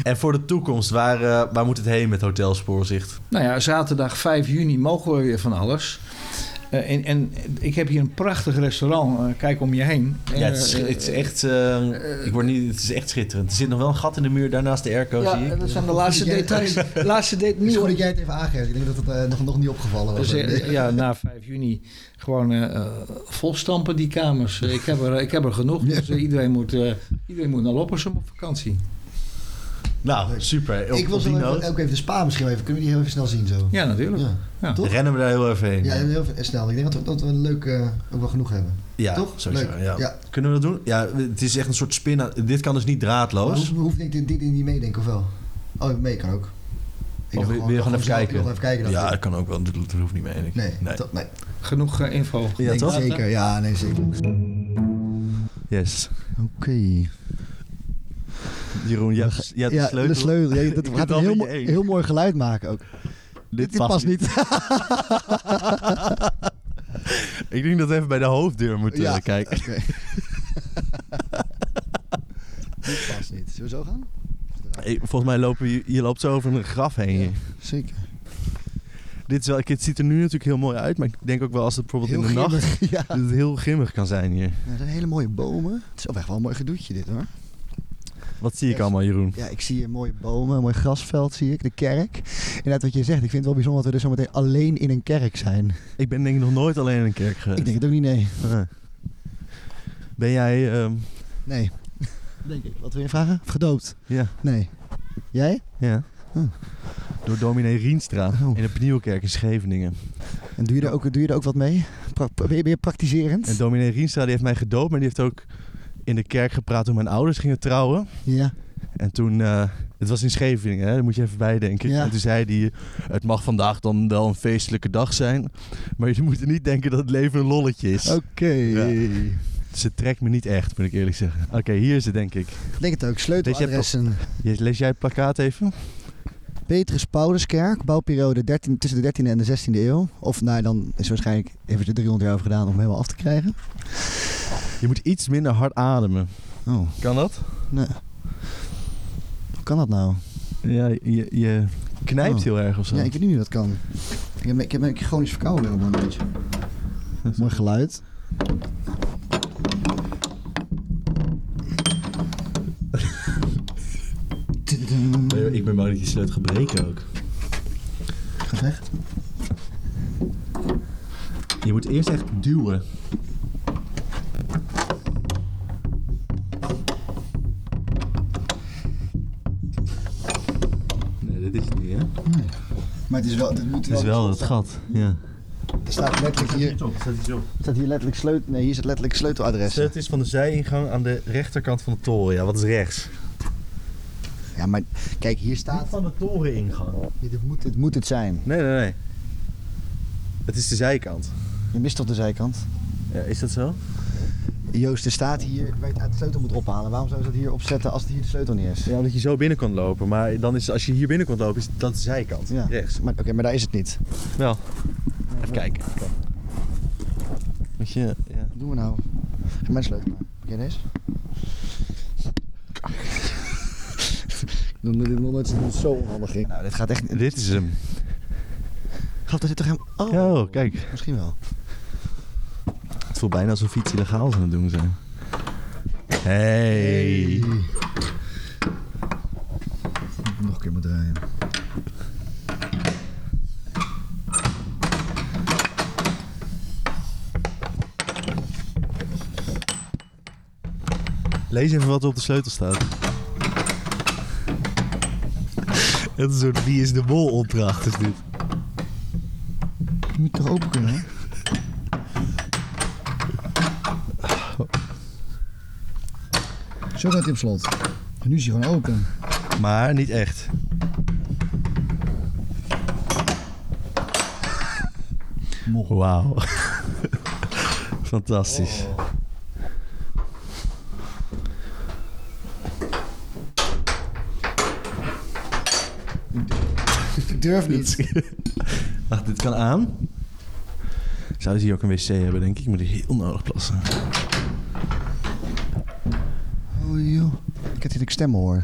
Speaker 3: En voor de toekomst, waar, eh, waar moet het heen met hotelspoorzicht?
Speaker 5: Nou ja, zaterdag 5 juni mogen we weer van alles. Eh, en, en ik heb hier een prachtig restaurant. Eh, kijk om je heen.
Speaker 3: Ja, het is,
Speaker 5: Eh,
Speaker 3: het is echt. eh, ik word niet, het is echt schitterend. Er zit nog wel een gat in de muur daarnaast de airco,
Speaker 5: <laughs> Ja,
Speaker 3: zie
Speaker 2: eh,
Speaker 3: ik.
Speaker 5: dat zijn de laatste
Speaker 2: Jij-
Speaker 5: details. laatste dit
Speaker 2: Het is goed
Speaker 5: nieuwe.
Speaker 2: dat jij het even aangeeft. Ik denk dat het eh, nog, nog niet opgevallen was.
Speaker 5: Dus,
Speaker 2: Nee.
Speaker 5: eh, ja, na 5 juni gewoon eh, eh, volstampen die kamers. Eh, Ik heb er, ik heb er genoeg. Dus eh, iedereen, moet, eh, iedereen moet naar Loppersum op vakantie.
Speaker 3: Nou, super. Op,
Speaker 2: ik wil
Speaker 3: op
Speaker 2: zo
Speaker 3: die
Speaker 2: even,
Speaker 3: noot
Speaker 2: ook even de spa misschien wel even. Kunnen we die heel even snel zien zo?
Speaker 5: Ja, natuurlijk.
Speaker 2: Ja,
Speaker 5: Ja.
Speaker 2: toch?
Speaker 3: rennen we daar heel even heen.
Speaker 2: Ja, eh,
Speaker 3: Ja,
Speaker 2: heel even snel. Ik denk dat we, dat we een leuk eh, ook wel genoeg hebben. toch?
Speaker 3: sowieso.
Speaker 2: Leuk.
Speaker 3: Ja.
Speaker 2: Ja.
Speaker 3: Kunnen we dat doen? Ja, het is echt een soort spin. aan- Dit kan dus niet
Speaker 2: Maar
Speaker 3: draadloos.
Speaker 2: hoef, hoef ik dit, dit niet meedenken of wel? Oh, mee kan ook. Ik
Speaker 3: Of wil-
Speaker 2: dacht
Speaker 3: wil je gewoon even
Speaker 2: zelf-
Speaker 3: kijken?
Speaker 2: Ik wil even kijken.
Speaker 3: ja,
Speaker 2: dacht
Speaker 3: dat
Speaker 2: ik.
Speaker 3: kan ook wel. Dat dat hoeft niet mee. denk ik.
Speaker 2: Nee,
Speaker 3: nee.
Speaker 2: dat- nee.
Speaker 5: Genoeg eh, info.
Speaker 3: Ja,
Speaker 2: Nee,
Speaker 3: toch?
Speaker 2: Zeker, ja, nee, zeker. Oké.
Speaker 3: Yes. Jeroen, jij hebt, jij hebt de sleutel.
Speaker 2: Ja,
Speaker 3: Ik
Speaker 2: dat
Speaker 3: ben
Speaker 2: gaat
Speaker 3: wel
Speaker 2: een heel,
Speaker 3: met je
Speaker 2: mooi-
Speaker 3: eens.
Speaker 2: heel mooi geluid maken ook. Dit, past, niet.
Speaker 3: Ik denk dat we even bij de hoofddeur moeten
Speaker 2: Ja.
Speaker 3: eh, kijken.
Speaker 2: Oké.
Speaker 3: <laughs>
Speaker 2: Dit past niet. Zullen we zo gaan?
Speaker 3: Hey, Volgens mij lopen je, je loopt zo over een graf heen. hier.
Speaker 2: Zeker.
Speaker 3: Dit, is wel, het ziet er nu natuurlijk heel mooi uit, maar ik denk ook wel als het bijvoorbeeld in de nacht
Speaker 2: grimmig, <laughs> Ja.
Speaker 3: dat het heel grimmig kan zijn hier.
Speaker 2: Ja, Er zijn hele mooie bomen. Het is ook echt wel een mooi gedoetje dit hoor.
Speaker 3: Wat zie ik
Speaker 2: Yes.
Speaker 3: allemaal, Jeroen?
Speaker 2: Ja, ik zie hier mooie bomen, een mooi grasveld zie ik, de kerk. Inderdaad wat je zegt, ik vind het wel bijzonder dat we dus zometeen alleen in een kerk zijn.
Speaker 3: Ik ben denk ik nog nooit alleen in een kerk geweest.
Speaker 2: Ik denk het ook niet, nee.
Speaker 3: Ah. Ben jij... ehm, <laughs>
Speaker 2: Nee. Denk ik. Wat wil je vragen? Of gedoopt?
Speaker 3: ja,
Speaker 2: Nee. Jij?
Speaker 3: ja.
Speaker 2: Huh.
Speaker 3: Door dominee Rienstra
Speaker 2: Oh.
Speaker 3: in de Pnieuwkerk in Scheveningen.
Speaker 2: En doe je er ook, doe je er ook wat mee? Pra- pra- ben, je, ben je praktiserend?
Speaker 3: En dominee Rienstra die heeft mij gedoopt, maar die heeft ook in de kerk gepraat toen mijn ouders gingen trouwen.
Speaker 2: Ja.
Speaker 3: En toen, eh, het was in Scheveningen, hè? daar moet je even bij denken.
Speaker 2: Ja.
Speaker 3: En toen zei hij, het mag vandaag dan wel een feestelijke dag zijn, maar jullie moeten niet denken dat het leven een lolletje is.
Speaker 2: Oké.
Speaker 3: Ja. Ze trekt me niet echt, moet ik eerlijk zeggen. Oké, hier is het denk ik.
Speaker 2: Ik denk het ook. Sleuteladressen.
Speaker 3: Je- Lees jij het plakkaat even?
Speaker 2: Petrus Pauluskerk, bouwperiode 13, tussen de 13e en de 16e eeuw. Of nou, dan is waarschijnlijk even de 300 jaar over gedaan om hem helemaal af te krijgen.
Speaker 3: Je moet iets minder hard ademen.
Speaker 2: Oh,
Speaker 3: Kan dat?
Speaker 2: nee. Hoe kan dat nou?
Speaker 3: Ja, je, je knijpt
Speaker 2: Oh.
Speaker 3: heel erg of zo.
Speaker 2: Ja, ik weet niet hoe dat kan. Ik heb, ik heb ik heb chronisch verkouden op een <laughs> beetje. Mooi geluid.
Speaker 3: Nee, ik ben bang dat je sleutel gaat breken ook.
Speaker 2: Gezegd.
Speaker 3: Je moet eerst echt duwen. Nee, dit is het niet, hè?
Speaker 2: Maar het is wel, dit moet
Speaker 3: Het is wel het gat, ja.
Speaker 2: Er staat letterlijk hier,
Speaker 3: op, staat iets op.
Speaker 2: staat hier letterlijk sleutel. Nee, hier zit letterlijk sleuteladres.
Speaker 3: Het is van de zijingang aan de rechterkant van de toren. Ja, wat is rechts?
Speaker 2: Ja, maar kijk, hier staat.
Speaker 3: Van de toreningang.
Speaker 2: Dit moet, dit moet het zijn.
Speaker 3: Nee, nee, nee. Het is de zijkant.
Speaker 2: Je mist toch de zijkant?
Speaker 3: Ja, is dat zo?
Speaker 2: Joost, er staat hier waar je het uit de sleutel moet ophalen. Waarom zou ze dat hier opzetten als het hier de sleutel niet is?
Speaker 3: Ja, omdat je zo binnen kan lopen. Maar dan is, als je hier binnen kan lopen, is dat de zijkant.
Speaker 2: Ja.
Speaker 3: Rechts.
Speaker 2: Maar, Oké, maar daar is het niet.
Speaker 3: Wel. Even kijken. Moet je... Ja.
Speaker 2: Wat doen we nou? Geef mij de sleutel maar. Ken je deze? Dan doe dit nog nooit het zo onhandig in. Nou, dit gaat echt niet.
Speaker 3: Dit is hem.
Speaker 2: Gaf, daar zit toch helemaal... Oh,
Speaker 3: Oh, kijk.
Speaker 2: misschien wel.
Speaker 3: Het voelt bijna alsof we iets illegaals aan het doen zijn. Hey.
Speaker 2: Nog een keer moet draaien.
Speaker 3: Lees even wat er op de sleutel staat. <laughs> Het is een soort wie is de mol opdracht is dit.
Speaker 2: Je moet toch open kunnen, hè? Zo gaat hij op slot. En nu is hij gewoon open.
Speaker 3: Maar niet echt. Wauw. <laughs> Fantastisch.
Speaker 2: Ik durf niet.
Speaker 3: <laughs> Wacht, dit kan aan. Zouden ze hier ook een wc hebben, denk ik? Ik moet heel nodig plassen.
Speaker 2: Oei, joh. Ik heb hier ook stemmen hoor.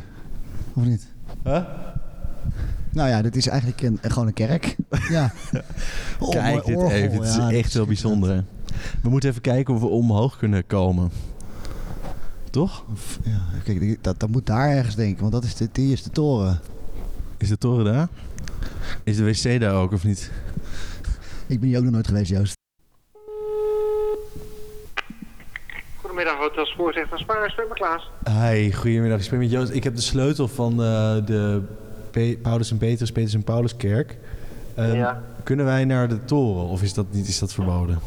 Speaker 2: Of niet?
Speaker 3: Huh?
Speaker 2: Nou ja, dit is eigenlijk een, gewoon een kerk. Ja. Oh, mooi
Speaker 3: Kijk dit
Speaker 2: orgel.
Speaker 3: even. Het is
Speaker 2: Ja,
Speaker 3: echt wel bijzonder. hè. We moeten even kijken of we omhoog kunnen komen.
Speaker 2: <laughs>
Speaker 3: Toch?
Speaker 2: Ja, kijk, die- dat, dat moet daar ergens denken, want dat is de, die is de toren.
Speaker 3: Is de toren daar? Is de wc daar ook of niet?
Speaker 2: Ik ben hier ook nog nooit geweest, Joost.
Speaker 6: Goedemiddag, Hotel Spoor zegt van Spaar, spreek maar Klaas.
Speaker 7: Hi, goedemiddag. Ik spreek met Joost. Ik heb de sleutel van eh, de Pe- Paulus en Petrus, Petrus en Pauluskerk. Ehm,
Speaker 6: Ja.
Speaker 7: Kunnen wij naar de toren of is dat niet is dat verboden?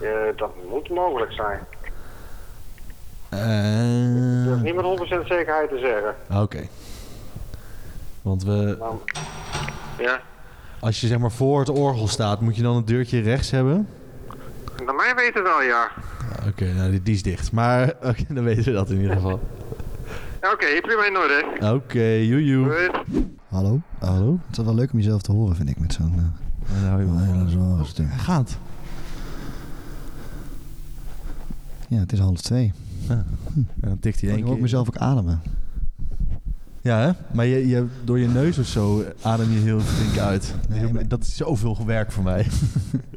Speaker 6: Eh, dat moet mogelijk zijn.
Speaker 7: Eh,
Speaker 6: Dat is niet met 100% zekerheid te zeggen.
Speaker 7: Ah, Oké. Want we,
Speaker 6: Maar, ja.
Speaker 7: als je zeg maar voor het orgel staat, moet je dan het deurtje rechts hebben?
Speaker 6: Naar mij weten wel, ja.
Speaker 7: Oké, nou die, die is dicht. Maar <laughs> oké, dan weten we dat in ieder geval.
Speaker 6: Ja, Oké, prima in orde.
Speaker 7: Oké, joejoe.
Speaker 6: Goed.
Speaker 2: Hallo?
Speaker 3: Hallo?
Speaker 2: Het is wel leuk om jezelf te horen, vind ik, met zo'n... eh,
Speaker 3: Nou,
Speaker 2: ja, dat is wel een
Speaker 3: Hij
Speaker 2: stuk.
Speaker 3: gaat.
Speaker 2: Ja, het is half twee.
Speaker 3: En dan tikt hij
Speaker 2: Ik
Speaker 3: één
Speaker 2: hoor ik
Speaker 3: keer.
Speaker 2: mezelf ook ademen.
Speaker 3: Ja, hè? Maar je, je, door je neus of zo adem je heel flink uit.
Speaker 2: Nee,
Speaker 3: Heel-
Speaker 2: maar-
Speaker 3: Dat is zoveel werk voor mij.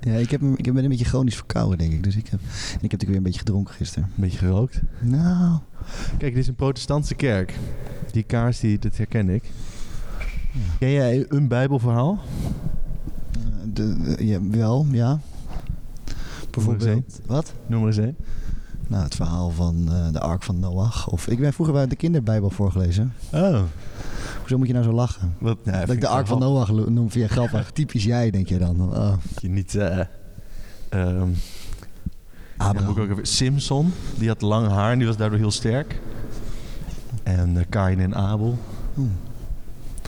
Speaker 2: Ja, ik, heb, hem- ik ben een beetje chronisch verkouden, denk ik. Dus ik heb, en ik heb natuurlijk weer een beetje gedronken gisteren.
Speaker 3: Beetje gerookt.
Speaker 2: Nou,
Speaker 3: Kijk, dit is een protestantse kerk. Die kaars, die, dat herken ik. Ken jij een bijbelverhaal?
Speaker 2: eh, de, de- ja, wel, ja. Bijvoorbeeld... Wat?
Speaker 3: Noem maar eens één.
Speaker 2: Nou, het verhaal van eh, de Ark van Noach. Of, ik ben vroeger bij de kinderbijbel voorgelezen.
Speaker 3: Oh,
Speaker 2: Hoezo moet je nou zo lachen?
Speaker 3: wat? Nou,
Speaker 2: dat ik de Ark van Noach lo- noem vind je
Speaker 8: <laughs>
Speaker 2: grappig. Typisch jij, denk je dan. Oh,
Speaker 3: Je niet... eh ehm, Dan moet
Speaker 2: Abraham.
Speaker 3: ik ook even... Simpson, die had lang haar en die was daardoor heel sterk. En eh, Kain en Abel.
Speaker 2: Hmm.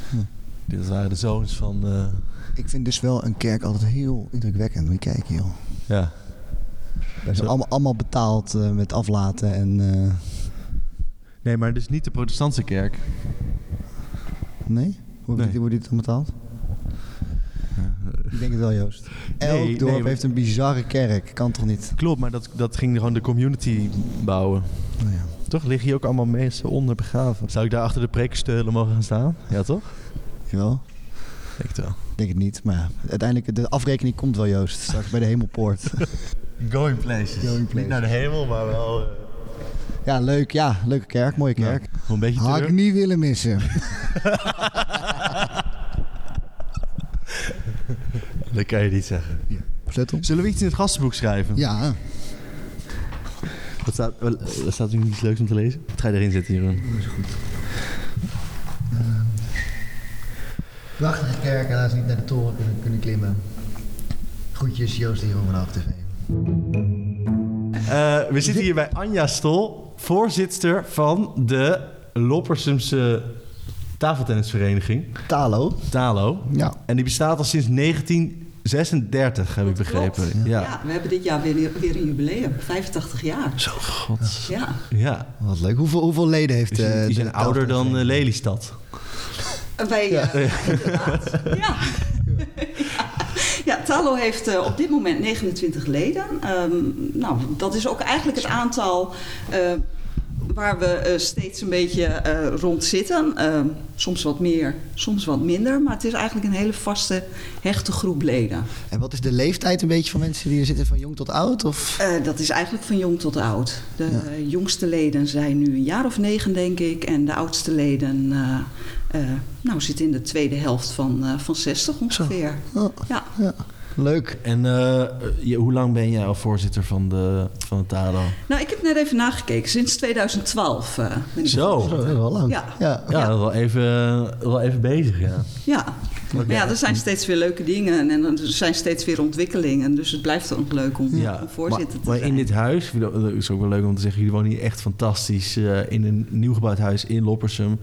Speaker 2: Hmm.
Speaker 3: Dit waren de zoons van... eh,
Speaker 2: Ik vind dus wel een kerk altijd heel indrukwekkend. Moet je kijken, joh.
Speaker 3: ja.
Speaker 2: Dat is allemaal, allemaal betaald eh, met aflaten en... eh,
Speaker 8: Nee, maar dus niet de protestantse kerk.
Speaker 2: nee?
Speaker 8: Nee. eh.
Speaker 2: Hoe wordt dit- wordt dit dan betaald? Ik denk het wel, Joost. Elk
Speaker 8: Nee,
Speaker 2: dorp
Speaker 8: nee, maar-
Speaker 2: heeft een bizarre kerk. Kan toch niet?
Speaker 8: Klopt, maar dat, dat ging gewoon de community bouwen.
Speaker 2: Nou ja.
Speaker 8: Toch liggen hier ook allemaal mensen onder begraven. Zou ik daar achter de prekensteulen mogen gaan staan? Ja, toch?
Speaker 2: Jawel.
Speaker 8: Ik het wel.
Speaker 2: Ik denk het niet, maar ja, uiteindelijk de afrekening komt wel, Joost. Straks bij de hemelpoort. <laughs>
Speaker 8: Going places.
Speaker 2: Going places. Niet naar
Speaker 8: de hemel, maar wel... eh,
Speaker 2: ja, leuk. Ja, leuke kerk. Mooie kerk.
Speaker 8: een beetje
Speaker 2: Had ik
Speaker 8: terug.
Speaker 2: niet willen missen.
Speaker 8: Dat kan je niet zeggen.
Speaker 2: Zet op.
Speaker 8: Zullen we iets in het gastenboek schrijven?
Speaker 2: Ja.
Speaker 8: Wat staat, wat wat staat er iets leuks om te lezen? Wat ga je erin zetten, Jeroen?
Speaker 2: Prachtige kerk, helaas niet naar de toren kunnen, kunnen klimmen. Groetjes, Joost hier van de TV.
Speaker 8: Eh, we zitten hier bij Anja Stol, voorzitter van de Loppersumse tafeltennisvereniging,
Speaker 2: Talo.
Speaker 8: TALO.
Speaker 2: Ja.
Speaker 8: En die bestaat al sinds 1936, heb ik begrepen.
Speaker 9: Klopt.
Speaker 8: Ja.
Speaker 9: Ja, we hebben dit jaar weer, weer een jubileum. 85 jaar. Zo, god. Ja.
Speaker 8: ja.
Speaker 2: Wat leuk. Hoeveel, hoeveel leden heeft...
Speaker 8: Die zijn,
Speaker 2: eh,
Speaker 8: die zijn
Speaker 2: de
Speaker 8: ouder dan eh,
Speaker 2: Talo?
Speaker 8: Lelystad.
Speaker 9: En Wij, ja. inderdaad. <laughs> Ja. Ja, Talo heeft eh, op dit moment 29 leden. Ehm, nou, dat is ook eigenlijk het aantal eh, waar we eh, steeds een beetje eh, rond zitten. Ehm, soms wat meer, soms wat minder. Maar het is eigenlijk een hele vaste, hechte groep leden.
Speaker 2: En wat is de leeftijd een beetje van mensen die er zitten? Van jong tot oud? Of?
Speaker 9: Eh, dat is eigenlijk van jong tot oud. De eh, jongste leden zijn nu een jaar of negen, denk ik. En de oudste leden eh, eh, nou, zitten in de tweede helft van, eh, van 60 ongeveer.
Speaker 2: Oh,
Speaker 9: Ja.
Speaker 2: ja. Leuk.
Speaker 3: En eh, je- hoe lang ben jij al voorzitter van de, van de TALO?
Speaker 9: Nou, ik heb net even nagekeken. Sinds 2012 eh, ben ik
Speaker 3: Zo.
Speaker 2: Zo, dat is wel lang.
Speaker 9: Ja.
Speaker 2: ja.
Speaker 3: Ja, Wel, even, wel even bezig, ja.
Speaker 9: Ja. Maar ja, er zijn steeds weer leuke dingen en er zijn steeds weer ontwikkelingen. Dus het blijft ook leuk om,
Speaker 3: ja.
Speaker 9: om voorzitter
Speaker 3: maar,
Speaker 9: te
Speaker 3: maar
Speaker 9: zijn.
Speaker 3: in dit huis, ik bedoel, dat is ook wel leuk om te zeggen... jullie wonen hier echt fantastisch eh, in een nieuw gebouwd huis in Loppersum.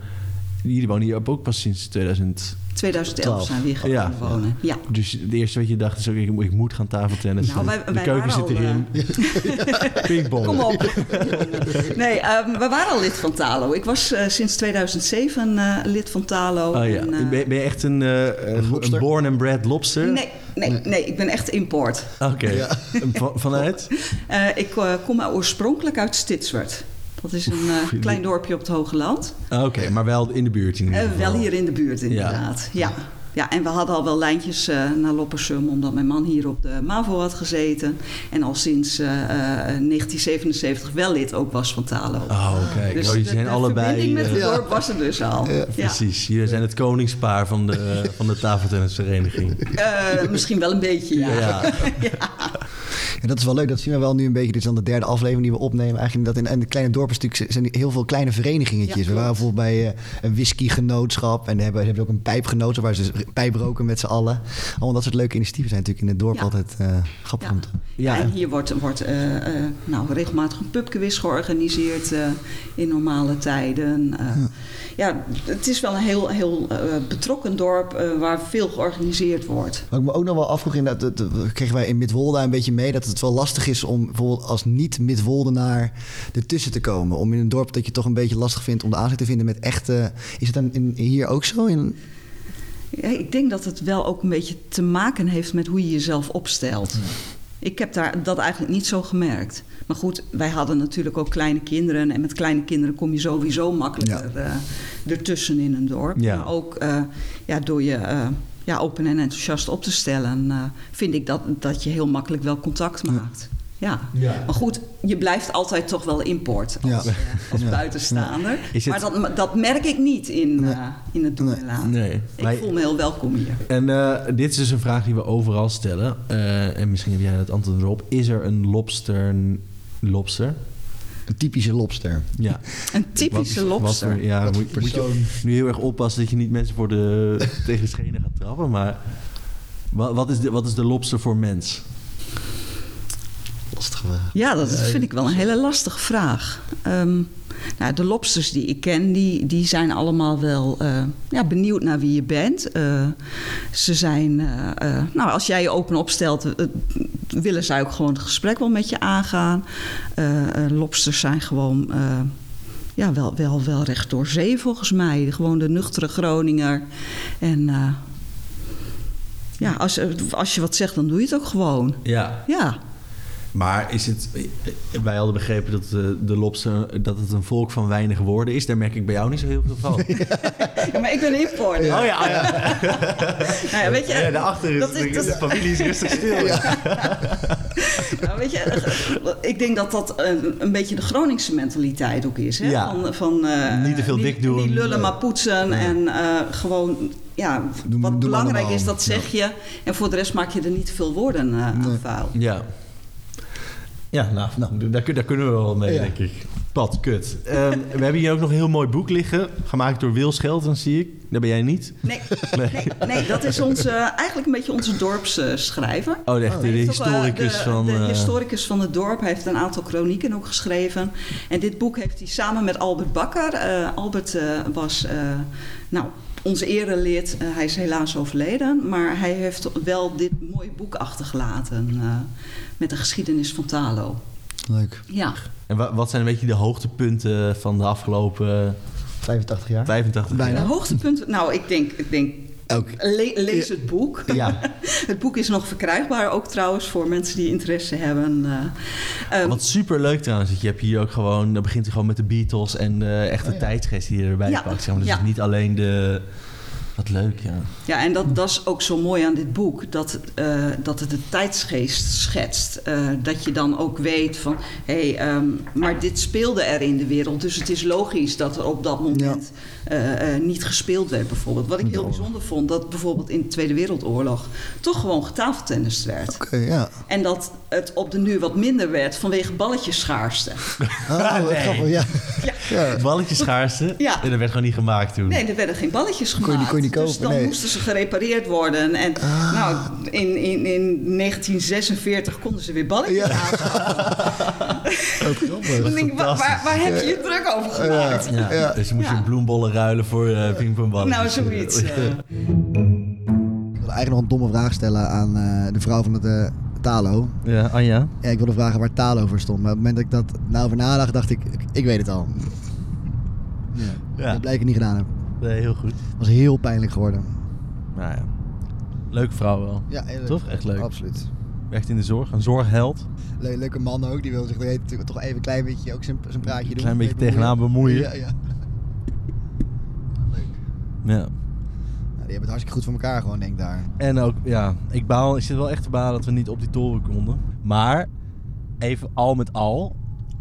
Speaker 3: Jullie wonen hier ook pas sinds 2000.
Speaker 9: 2011 zijn we hier gaan
Speaker 3: Ja.
Speaker 9: wonen. Ja.
Speaker 3: Dus het eerste wat je dacht is ook, ik, ik moet gaan tafeltennis.
Speaker 9: Nou, wij-
Speaker 3: de
Speaker 9: wij
Speaker 3: keuken
Speaker 9: waren
Speaker 3: zit
Speaker 9: al, eh,
Speaker 3: erin. <laughs> Pingpong.
Speaker 9: Kom op.
Speaker 3: <laughs>
Speaker 9: Nee, ehm, we waren al lid van Talo. Ik was eh, sinds 2007 eh, lid van Talo.
Speaker 3: Oh, ja.
Speaker 9: En, eh,
Speaker 3: ben, ben je echt een, eh, een
Speaker 2: lobster?
Speaker 3: born and bred lobster?
Speaker 9: nee, nee, nee, ik ben echt import.
Speaker 3: Oké. En van- vanuit?
Speaker 9: Eh, ik eh, kom oorspronkelijk uit Stitswert. Dat is een eh, klein dorpje op het Hoge Land.
Speaker 3: Ah, Oké, maar wel in de buurt in ieder
Speaker 9: Eh,
Speaker 3: geval.
Speaker 9: wel hier in de buurt, inderdaad. Ja. Ja. en we hadden al wel lijntjes eh, naar Loppersum, omdat mijn man hier op de MAVO had gezeten. En al sinds eh, eh, 1977 wel lid ook was van Talo.
Speaker 3: Oh, kijk.
Speaker 9: dus
Speaker 3: oh, jullie
Speaker 9: de-
Speaker 3: zijn
Speaker 9: de
Speaker 3: allebei...
Speaker 9: verbinding met het
Speaker 3: eh,
Speaker 9: dorp was er dus al. Ja.
Speaker 3: Precies, jullie zijn het koningspaar van
Speaker 9: <laughs>
Speaker 3: de, van de tafeltennisvereniging.
Speaker 9: Eh, misschien wel een beetje, ja.
Speaker 3: Ja.
Speaker 2: En dat is wel leuk, dat zien we wel nu een beetje. Dit is dan de derde aflevering die we opnemen. Eigenlijk dat in, in de kleine dorpen natuurlijk zijn heel veel kleine verenigingetjes.
Speaker 9: Ja,
Speaker 2: we
Speaker 9: klopt.
Speaker 2: waren bijvoorbeeld bij eh, een whiskygenootschap. En daar hebben, hebben we ook een pijpgenootschap waar ze pijp roken met z'n allen. Allemaal dat soort leuke initiatieven zijn natuurlijk in het dorp
Speaker 9: Ja.
Speaker 2: altijd eh, grappig
Speaker 9: Ja.
Speaker 2: om te-
Speaker 3: Ja.
Speaker 9: En hier wordt, wordt eh, eh, nou, regelmatig een pubquiz georganiseerd eh, in normale tijden. Eh, ja. het is wel een heel, heel eh, betrokken dorp eh, waar veel georganiseerd wordt.
Speaker 2: Wat ik me ook nog wel afvroeg, inderdaad, dat, dat kregen wij in Midwolda een beetje mee... dat het wel lastig is om bijvoorbeeld als niet-Midwoldenaar ertussen te komen. Om in een dorp dat je toch een beetje lastig vindt om de aanzet te vinden met echte... Is het dan in, hier ook zo? In,
Speaker 9: Ja, ik denk dat het wel ook een beetje te maken heeft met hoe je jezelf opstelt.
Speaker 3: Hmm.
Speaker 9: Ik heb daar, dat eigenlijk niet zo gemerkt. Maar goed, wij hadden natuurlijk ook kleine kinderen. En met kleine kinderen kom je sowieso makkelijker eh, ertussen in een dorp.
Speaker 3: Ja.
Speaker 9: Maar ook eh, ja, door je eh, ja, open en enthousiast op te stellen... eh, vind ik dat, dat je heel makkelijk wel contact maakt. Ja. Maar goed, je blijft altijd toch wel import als,
Speaker 2: Ja.
Speaker 9: eh, als buitenstaander.
Speaker 3: Is het-
Speaker 9: Maar dat, dat merk ik niet in, eh, in het doen en laten.
Speaker 3: Nee.
Speaker 9: Ik
Speaker 3: Maar-
Speaker 9: voel me heel welkom hier.
Speaker 3: En eh, dit is dus een vraag die we overal stellen. Eh, en misschien heb jij het antwoord erop. Is er een lobster... Lobster?
Speaker 2: een typische lobster.
Speaker 3: Ja.
Speaker 9: Een <laughs> typische
Speaker 3: Wat- wat
Speaker 9: lobster.
Speaker 3: voor- ja, moet, moet je nu heel erg oppassen dat je niet mensen voor de,
Speaker 9: <laughs>
Speaker 3: tegen de schenen gaat trappen. Maar wat, wat, is de, wat is de lobster voor mens?
Speaker 9: Ja, dat vind ik wel een hele lastige vraag. Ehm, nou, de lobsters die ik ken, die, die zijn allemaal wel eh, ja, benieuwd naar wie je bent. Eh, ze zijn, eh, eh, nou, als jij je open opstelt, eh, willen zij ook gewoon het gesprek wel met je aangaan. Eh, eh, lobsters zijn gewoon eh, ja, wel, wel, wel recht door zee volgens mij. Gewoon de nuchtere Groninger. En eh, ja, als, eh, als je wat zegt, dan doe je het ook gewoon.
Speaker 3: Ja,
Speaker 9: Ja,
Speaker 3: maar is het... Wij hadden begrepen dat de, de lobster... dat het een volk van weinig woorden is. Daar merk ik bij jou niet zo heel <laughs> veel van.
Speaker 9: ja maar ik ben importer.
Speaker 3: Oh ja, ja.
Speaker 9: Nou ja, weet je,
Speaker 3: Ja, daarachter is,
Speaker 9: dat is- dat is-
Speaker 3: de familie is rustig stil.
Speaker 9: Nou, weet je, eh, ik denk dat dat een, een beetje de Groningse mentaliteit ook is. Hè?
Speaker 3: Ja.
Speaker 9: Van, van, eh,
Speaker 3: Niet te veel dik doen. eh,
Speaker 9: Niet lullen, maar poetsen. En eh, gewoon, ja,
Speaker 2: doe
Speaker 9: wat
Speaker 2: maar
Speaker 9: belangrijk
Speaker 2: normaal.
Speaker 9: is, dat zeg je. En voor de rest maak je er niet te veel woorden eh, aan vuil.
Speaker 3: Ja. Ja, nou, nou, daar, kun- daar kunnen we wel mee,
Speaker 2: Ja.
Speaker 3: denk ik. Pat, kut. Ehm, we hebben hier ook nog een heel mooi boek liggen. Gemaakt door Wil Schelten, zie ik. Daar ben jij niet.
Speaker 9: Nee,
Speaker 3: Nee.
Speaker 9: nee. nee, dat is onze, eigenlijk een beetje onze dorpsschrijver.
Speaker 3: Oh, echt, de,
Speaker 9: Hij heeft ook, eh,
Speaker 3: historicus
Speaker 9: de,
Speaker 3: van...
Speaker 9: de
Speaker 3: eh,
Speaker 9: historicus van het dorp Hij heeft een aantal kronieken ook geschreven. En dit boek heeft hij samen met Albert Bakker. Eh, Albert eh, was eh, nou, ons erelid. Eh, hij is helaas overleden. Maar hij heeft wel dit mooie boek achtergelaten. eh, met de geschiedenis van Talo.
Speaker 2: Leuk.
Speaker 9: Ja.
Speaker 3: en wa- wat zijn een beetje de hoogtepunten van de afgelopen
Speaker 2: 85 jaar.
Speaker 3: 85 jaar?
Speaker 2: Bijna.
Speaker 9: De hoogtepunten. Nou, ik denk. Ik denk
Speaker 2: Ook.
Speaker 9: le- lees het boek.
Speaker 3: Ja,
Speaker 9: <laughs> Het boek is nog verkrijgbaar, ook trouwens voor mensen die interesse hebben. eh. Ehm,
Speaker 3: wat super leuk trouwens. dat Je hebt hier ook gewoon, dan begint hij gewoon met de Beatles en eh echt de tijdsgeest die je erbij
Speaker 9: Oh Ja.
Speaker 3: pakt. Zeg maar. Dus
Speaker 9: Ja.
Speaker 3: het is niet alleen de. Wat leuk, ja.
Speaker 9: Ja, en dat, dat is ook zo mooi aan dit boek. Dat, eh, dat het de tijdsgeest schetst. Eh, dat je dan ook weet van... hé, hey, ehm, maar dit speelde er in de wereld. Dus het is logisch dat er op dat moment eh, eh, niet gespeeld werd bijvoorbeeld. Wat ik heel bijzonder vond... dat bijvoorbeeld in de Tweede Wereldoorlog... toch gewoon getafeltennist werd.
Speaker 2: Oké, ja.
Speaker 9: En dat het op de nu wat minder werd... vanwege balletjesschaarste.
Speaker 2: Ah, wat
Speaker 3: Nee.
Speaker 2: grappig,
Speaker 3: <laughs>
Speaker 2: ja. ja.
Speaker 3: Balletjes schaarste.
Speaker 9: Ja.
Speaker 3: En dat werd gewoon niet gemaakt toen.
Speaker 9: Nee, er werden geen balletjes
Speaker 2: je
Speaker 9: gemaakt.
Speaker 2: die- kon je die
Speaker 9: dus
Speaker 2: kopen,
Speaker 9: dan
Speaker 2: nee. Ah.
Speaker 9: moesten ze gerepareerd worden. En nou, in, in, in 1946 konden ze weer balletjes
Speaker 2: Ja.
Speaker 9: aanschaffen.
Speaker 2: <laughs> Ook grappig.
Speaker 9: Dan denk ik, waar, waar, waar heb je je druk over gemaakt?
Speaker 3: Ja.
Speaker 2: Ja.
Speaker 3: Dus je moest
Speaker 9: Ja.
Speaker 3: je bloembollen ruilen voor eh pingpongballen.
Speaker 9: Nou, zoiets. eh.
Speaker 2: Ik wil eigenlijk nog een domme vraag stellen aan eh, de vrouw van het eh, Talo.
Speaker 3: Ja, Anja.
Speaker 2: Ja, ik wilde vragen waar Talo voor stond. Maar op het moment dat ik dat nou over nadacht, dacht ik, ik, ik weet het al. Ja.
Speaker 3: Ja.
Speaker 2: Dat blijkt ik niet gedaan heb.
Speaker 3: Nee, heel goed.
Speaker 2: was heel pijnlijk geworden.
Speaker 3: Nou ja. Leuke vrouw wel.
Speaker 2: Ja, heel leuk.
Speaker 3: Toch? Echt leuk.
Speaker 2: Absoluut.
Speaker 3: Werkt in de zorg. Een zorgheld.
Speaker 2: Le- leuke man ook, die wil zich er even- toch even een klein beetje ook zijn, zijn praatje doen.
Speaker 3: Klein beetje
Speaker 2: Even
Speaker 3: tegenaan bemoeien.
Speaker 2: Ja, ja.
Speaker 3: Ja.
Speaker 2: Nou, die hebben het hartstikke goed voor elkaar gewoon, denk ik daar.
Speaker 3: En ook, ja, ik baal, ik zit wel echt te balen dat we niet op die toren konden. Maar, even al met al,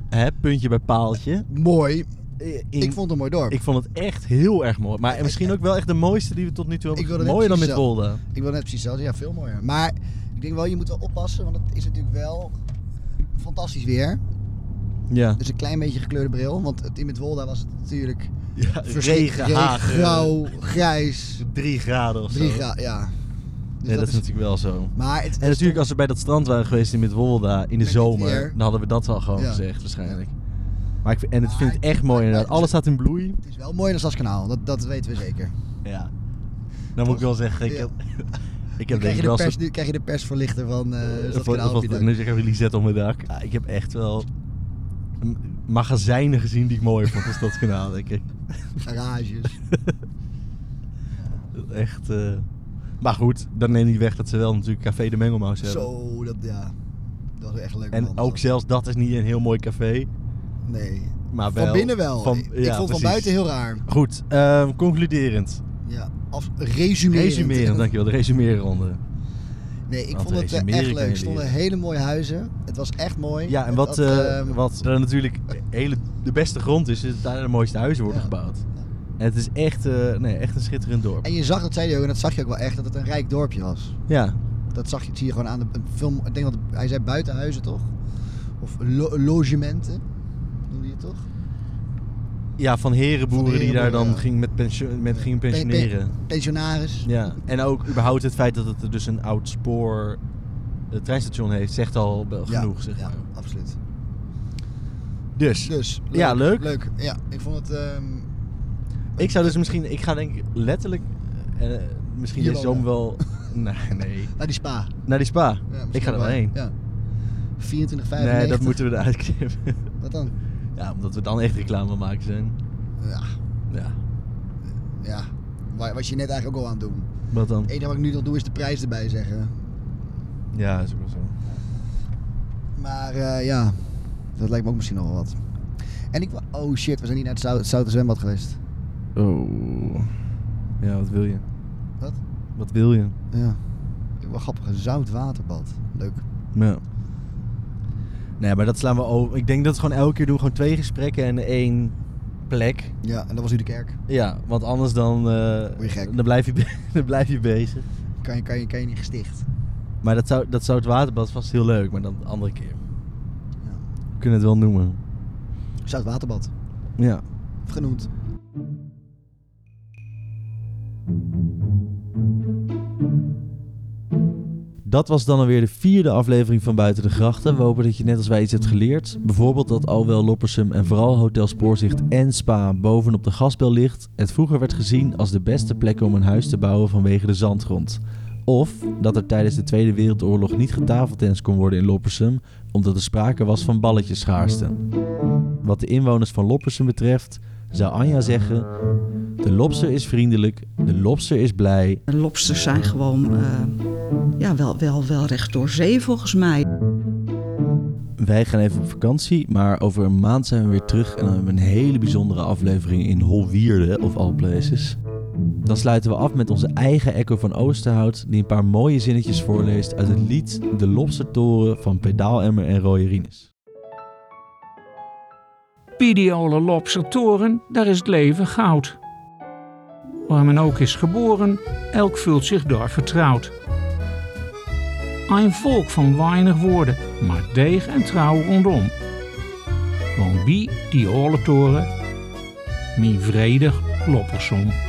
Speaker 3: hè, puntje bij paaltje.
Speaker 2: Mooi.
Speaker 3: In-
Speaker 2: Ik vond het een mooi dorp.
Speaker 3: ik vond het echt heel erg mooi. Maar misschien ook wel echt de mooiste die we tot nu toe
Speaker 2: Ik
Speaker 3: hebben.
Speaker 2: wilde net
Speaker 3: Mooier dan met
Speaker 2: precies zo-
Speaker 3: Wolde.
Speaker 2: Ik wil net precies zelfs, ja, veel mooier. Maar ik denk wel, je moet wel oppassen, want het is natuurlijk wel fantastisch weer.
Speaker 3: Ja.
Speaker 2: Dus een klein beetje gekleurde bril, want het in Midwolda was het natuurlijk <laughs>
Speaker 3: ja
Speaker 2: verschrikkelijk
Speaker 3: regen, hagel,
Speaker 2: grauw, grijs,
Speaker 3: Drie graden of zo.
Speaker 2: drie graden, ja. Dus
Speaker 3: Ja, dat, is natuurlijk wel zo.
Speaker 2: Maar het,
Speaker 3: En natuurlijk, als we bij dat strand waren geweest in Midwolda in de
Speaker 2: Met
Speaker 3: zomer,
Speaker 2: dit weer.
Speaker 3: dan hadden we dat wel gewoon
Speaker 2: Ja.
Speaker 3: gezegd waarschijnlijk. Maar ik vind, en het
Speaker 2: Maar
Speaker 3: vind het echt mooi inderdaad. Alles staat in bloei.
Speaker 2: het is wel mooi in het kanaal, dat, dat weten we zeker.
Speaker 3: Ja. Dan moet ik wel zeggen, ik
Speaker 2: Ja.
Speaker 3: heb, ik
Speaker 2: Dan
Speaker 3: heb denk
Speaker 2: krijg,
Speaker 3: ik
Speaker 2: je de
Speaker 3: wel
Speaker 2: pers,
Speaker 3: zo'n-
Speaker 2: nu krijg je de persverlichter van eh
Speaker 3: eh, van-
Speaker 2: Stadskanaal op je
Speaker 3: van-
Speaker 2: dak.
Speaker 3: Nu zeg ik even Lisette op mijn dak. Ja, ik heb echt wel m- magazijnen gezien die ik mooier vond als dat kanaal,
Speaker 2: <laughs>
Speaker 3: denk ik.
Speaker 2: Garages.
Speaker 3: Echt. eh, Maar goed, dan neem niet weg dat ze wel natuurlijk Café de Mengelmaus hebben.
Speaker 2: Zo, dat ja. Dat was echt een leuke
Speaker 3: En
Speaker 2: man,
Speaker 3: ook
Speaker 2: dat.
Speaker 3: zelfs dat is niet een heel mooi café.
Speaker 2: Nee.
Speaker 3: Maar wel,
Speaker 2: Van binnen wel.
Speaker 3: van-
Speaker 2: ik
Speaker 3: ja,
Speaker 2: ik vond van
Speaker 3: precies.
Speaker 2: buiten heel raar.
Speaker 3: Goed, ehm, concluderend.
Speaker 2: Ja, als resumerend.
Speaker 3: Resumeren, dankjewel. De resumeerronde.
Speaker 2: Nee, ik
Speaker 3: Want
Speaker 2: vond het eh,
Speaker 3: resumeren
Speaker 2: echt
Speaker 3: kan
Speaker 2: leuk. Er
Speaker 3: je
Speaker 2: stonden
Speaker 3: leren.
Speaker 2: hele mooie huizen. Het was echt mooi.
Speaker 3: Ja, en
Speaker 2: Het
Speaker 3: wat,
Speaker 2: had,
Speaker 3: eh,
Speaker 2: ehm,
Speaker 3: wat er natuurlijk hele, de beste grond is, is dat daar de mooiste huizen worden
Speaker 2: Ja.
Speaker 3: gebouwd. En het is echt, eh, nee, echt een schitterend dorp.
Speaker 2: En je zag, dat zei hij ook, en dat zag je ook wel echt, dat het een rijk dorpje was.
Speaker 3: Ja,
Speaker 2: Dat zag je, zie je gewoon aan de een film. Ik denk dat hij zei buitenhuizen toch? Of lo- logementen noemde je het toch?
Speaker 3: ja van herenboeren
Speaker 2: Van
Speaker 3: die daar dan
Speaker 2: herenboeren, ja.
Speaker 3: ging met pensio- met gingen
Speaker 2: Pe- pe-
Speaker 3: pensioneren.
Speaker 2: pensionaris.
Speaker 3: Ja. En ook überhaupt het feit dat het dus een oud spoor eh, treinstation heeft, zegt al wel
Speaker 2: Ja,
Speaker 3: genoeg. Zeg
Speaker 2: Ja,
Speaker 3: maar.
Speaker 2: absoluut.
Speaker 3: Dus,
Speaker 2: Dus leuk,
Speaker 3: Ja, leuk.
Speaker 2: Leuk. Ja, ik vond het. ehm,
Speaker 3: ik zou dus misschien, ik ga denk ik letterlijk, eh, eh, misschien
Speaker 2: Hier
Speaker 3: deze
Speaker 2: wonen.
Speaker 3: <laughs> zomer wel Nee, nee.
Speaker 2: Naar die spa.
Speaker 3: Naar die spa.
Speaker 2: Ja,
Speaker 3: ik ga er wel
Speaker 2: wel
Speaker 3: heen.
Speaker 2: Ja. 24,
Speaker 3: Nee, dat moeten we eruit knippen. <laughs>
Speaker 2: Wat dan?
Speaker 3: Ja, omdat we dan echt reclame aan het maken zijn.
Speaker 2: Ja,
Speaker 3: Ja.
Speaker 2: ja. Wa- Wat je net eigenlijk ook al aan het doen.
Speaker 3: Wat dan?
Speaker 2: Het enige wat ik nu nog doe is de prijs erbij zeggen.
Speaker 3: Ja, is ook wel zo.
Speaker 2: Maar eh, ja, dat lijkt me ook misschien nog wel wat. En ik... wa- Oh shit, we zijn niet naar het Zou- het Zoute Zwembad geweest.
Speaker 3: Oh. Ja, wat wil je?
Speaker 2: Wat?
Speaker 3: Wat wil je?
Speaker 2: Ja. Wel grappig, een zout waterbad. Leuk.
Speaker 3: Ja. Nee, maar dat slaan we over. Ik denk dat we gewoon elke keer doen gewoon twee gesprekken en één plek.
Speaker 2: Ja, en dat was nu de kerk.
Speaker 3: Ja, want anders dan, eh,
Speaker 2: Word je gek.
Speaker 3: dan, blijf, je, be- <laughs> dan blijf je bezig.
Speaker 2: Kan je, kan je, kan je niet gesticht.
Speaker 3: Maar dat zou, dat zou het waterbad vast heel leuk, maar dan de andere keer.
Speaker 2: Ja.
Speaker 3: We kunnen het wel noemen.
Speaker 2: Zout waterbad.
Speaker 3: Ja.
Speaker 2: Genoemd.
Speaker 3: Dat was dan alweer de vierde aflevering van Buiten de Grachten. We hopen dat je net als wij iets hebt geleerd. Bijvoorbeeld dat alwel Loppersum en vooral Hotel Spoorzicht en Spa bovenop de gasbel ligt. Het vroeger werd gezien als de beste plek om een huis te bouwen vanwege de zandgrond. Of dat er tijdens de Tweede Wereldoorlog niet getafeltennis kon worden in Loppersum, omdat er sprake was van balletjesschaarste. Wat de inwoners van Loppersum betreft, zou Anja zeggen... De lobster is vriendelijk, de lobster is blij
Speaker 9: Lobsters zijn gewoon eh, ja, wel, wel, wel recht door zee volgens mij.
Speaker 3: Wij gaan even op vakantie, maar over een maand zijn we weer terug. En dan hebben we een hele bijzondere aflevering in Holwierde, of all places. Dan sluiten we af met onze eigen Echo van Oosterhout, die een paar mooie zinnetjes voorleest uit het lied De Lobstertoren van Pedaalemmer en Rooie Rines.
Speaker 1: Piediole Lopser Toren, daar is het leven goud. Waar men ook is geboren, elk vult zich daar vertrouwd. Een volk van weinig woorden, maar deeg en trouw rondom. Want wie die ole toren, mijn vredig loppersom.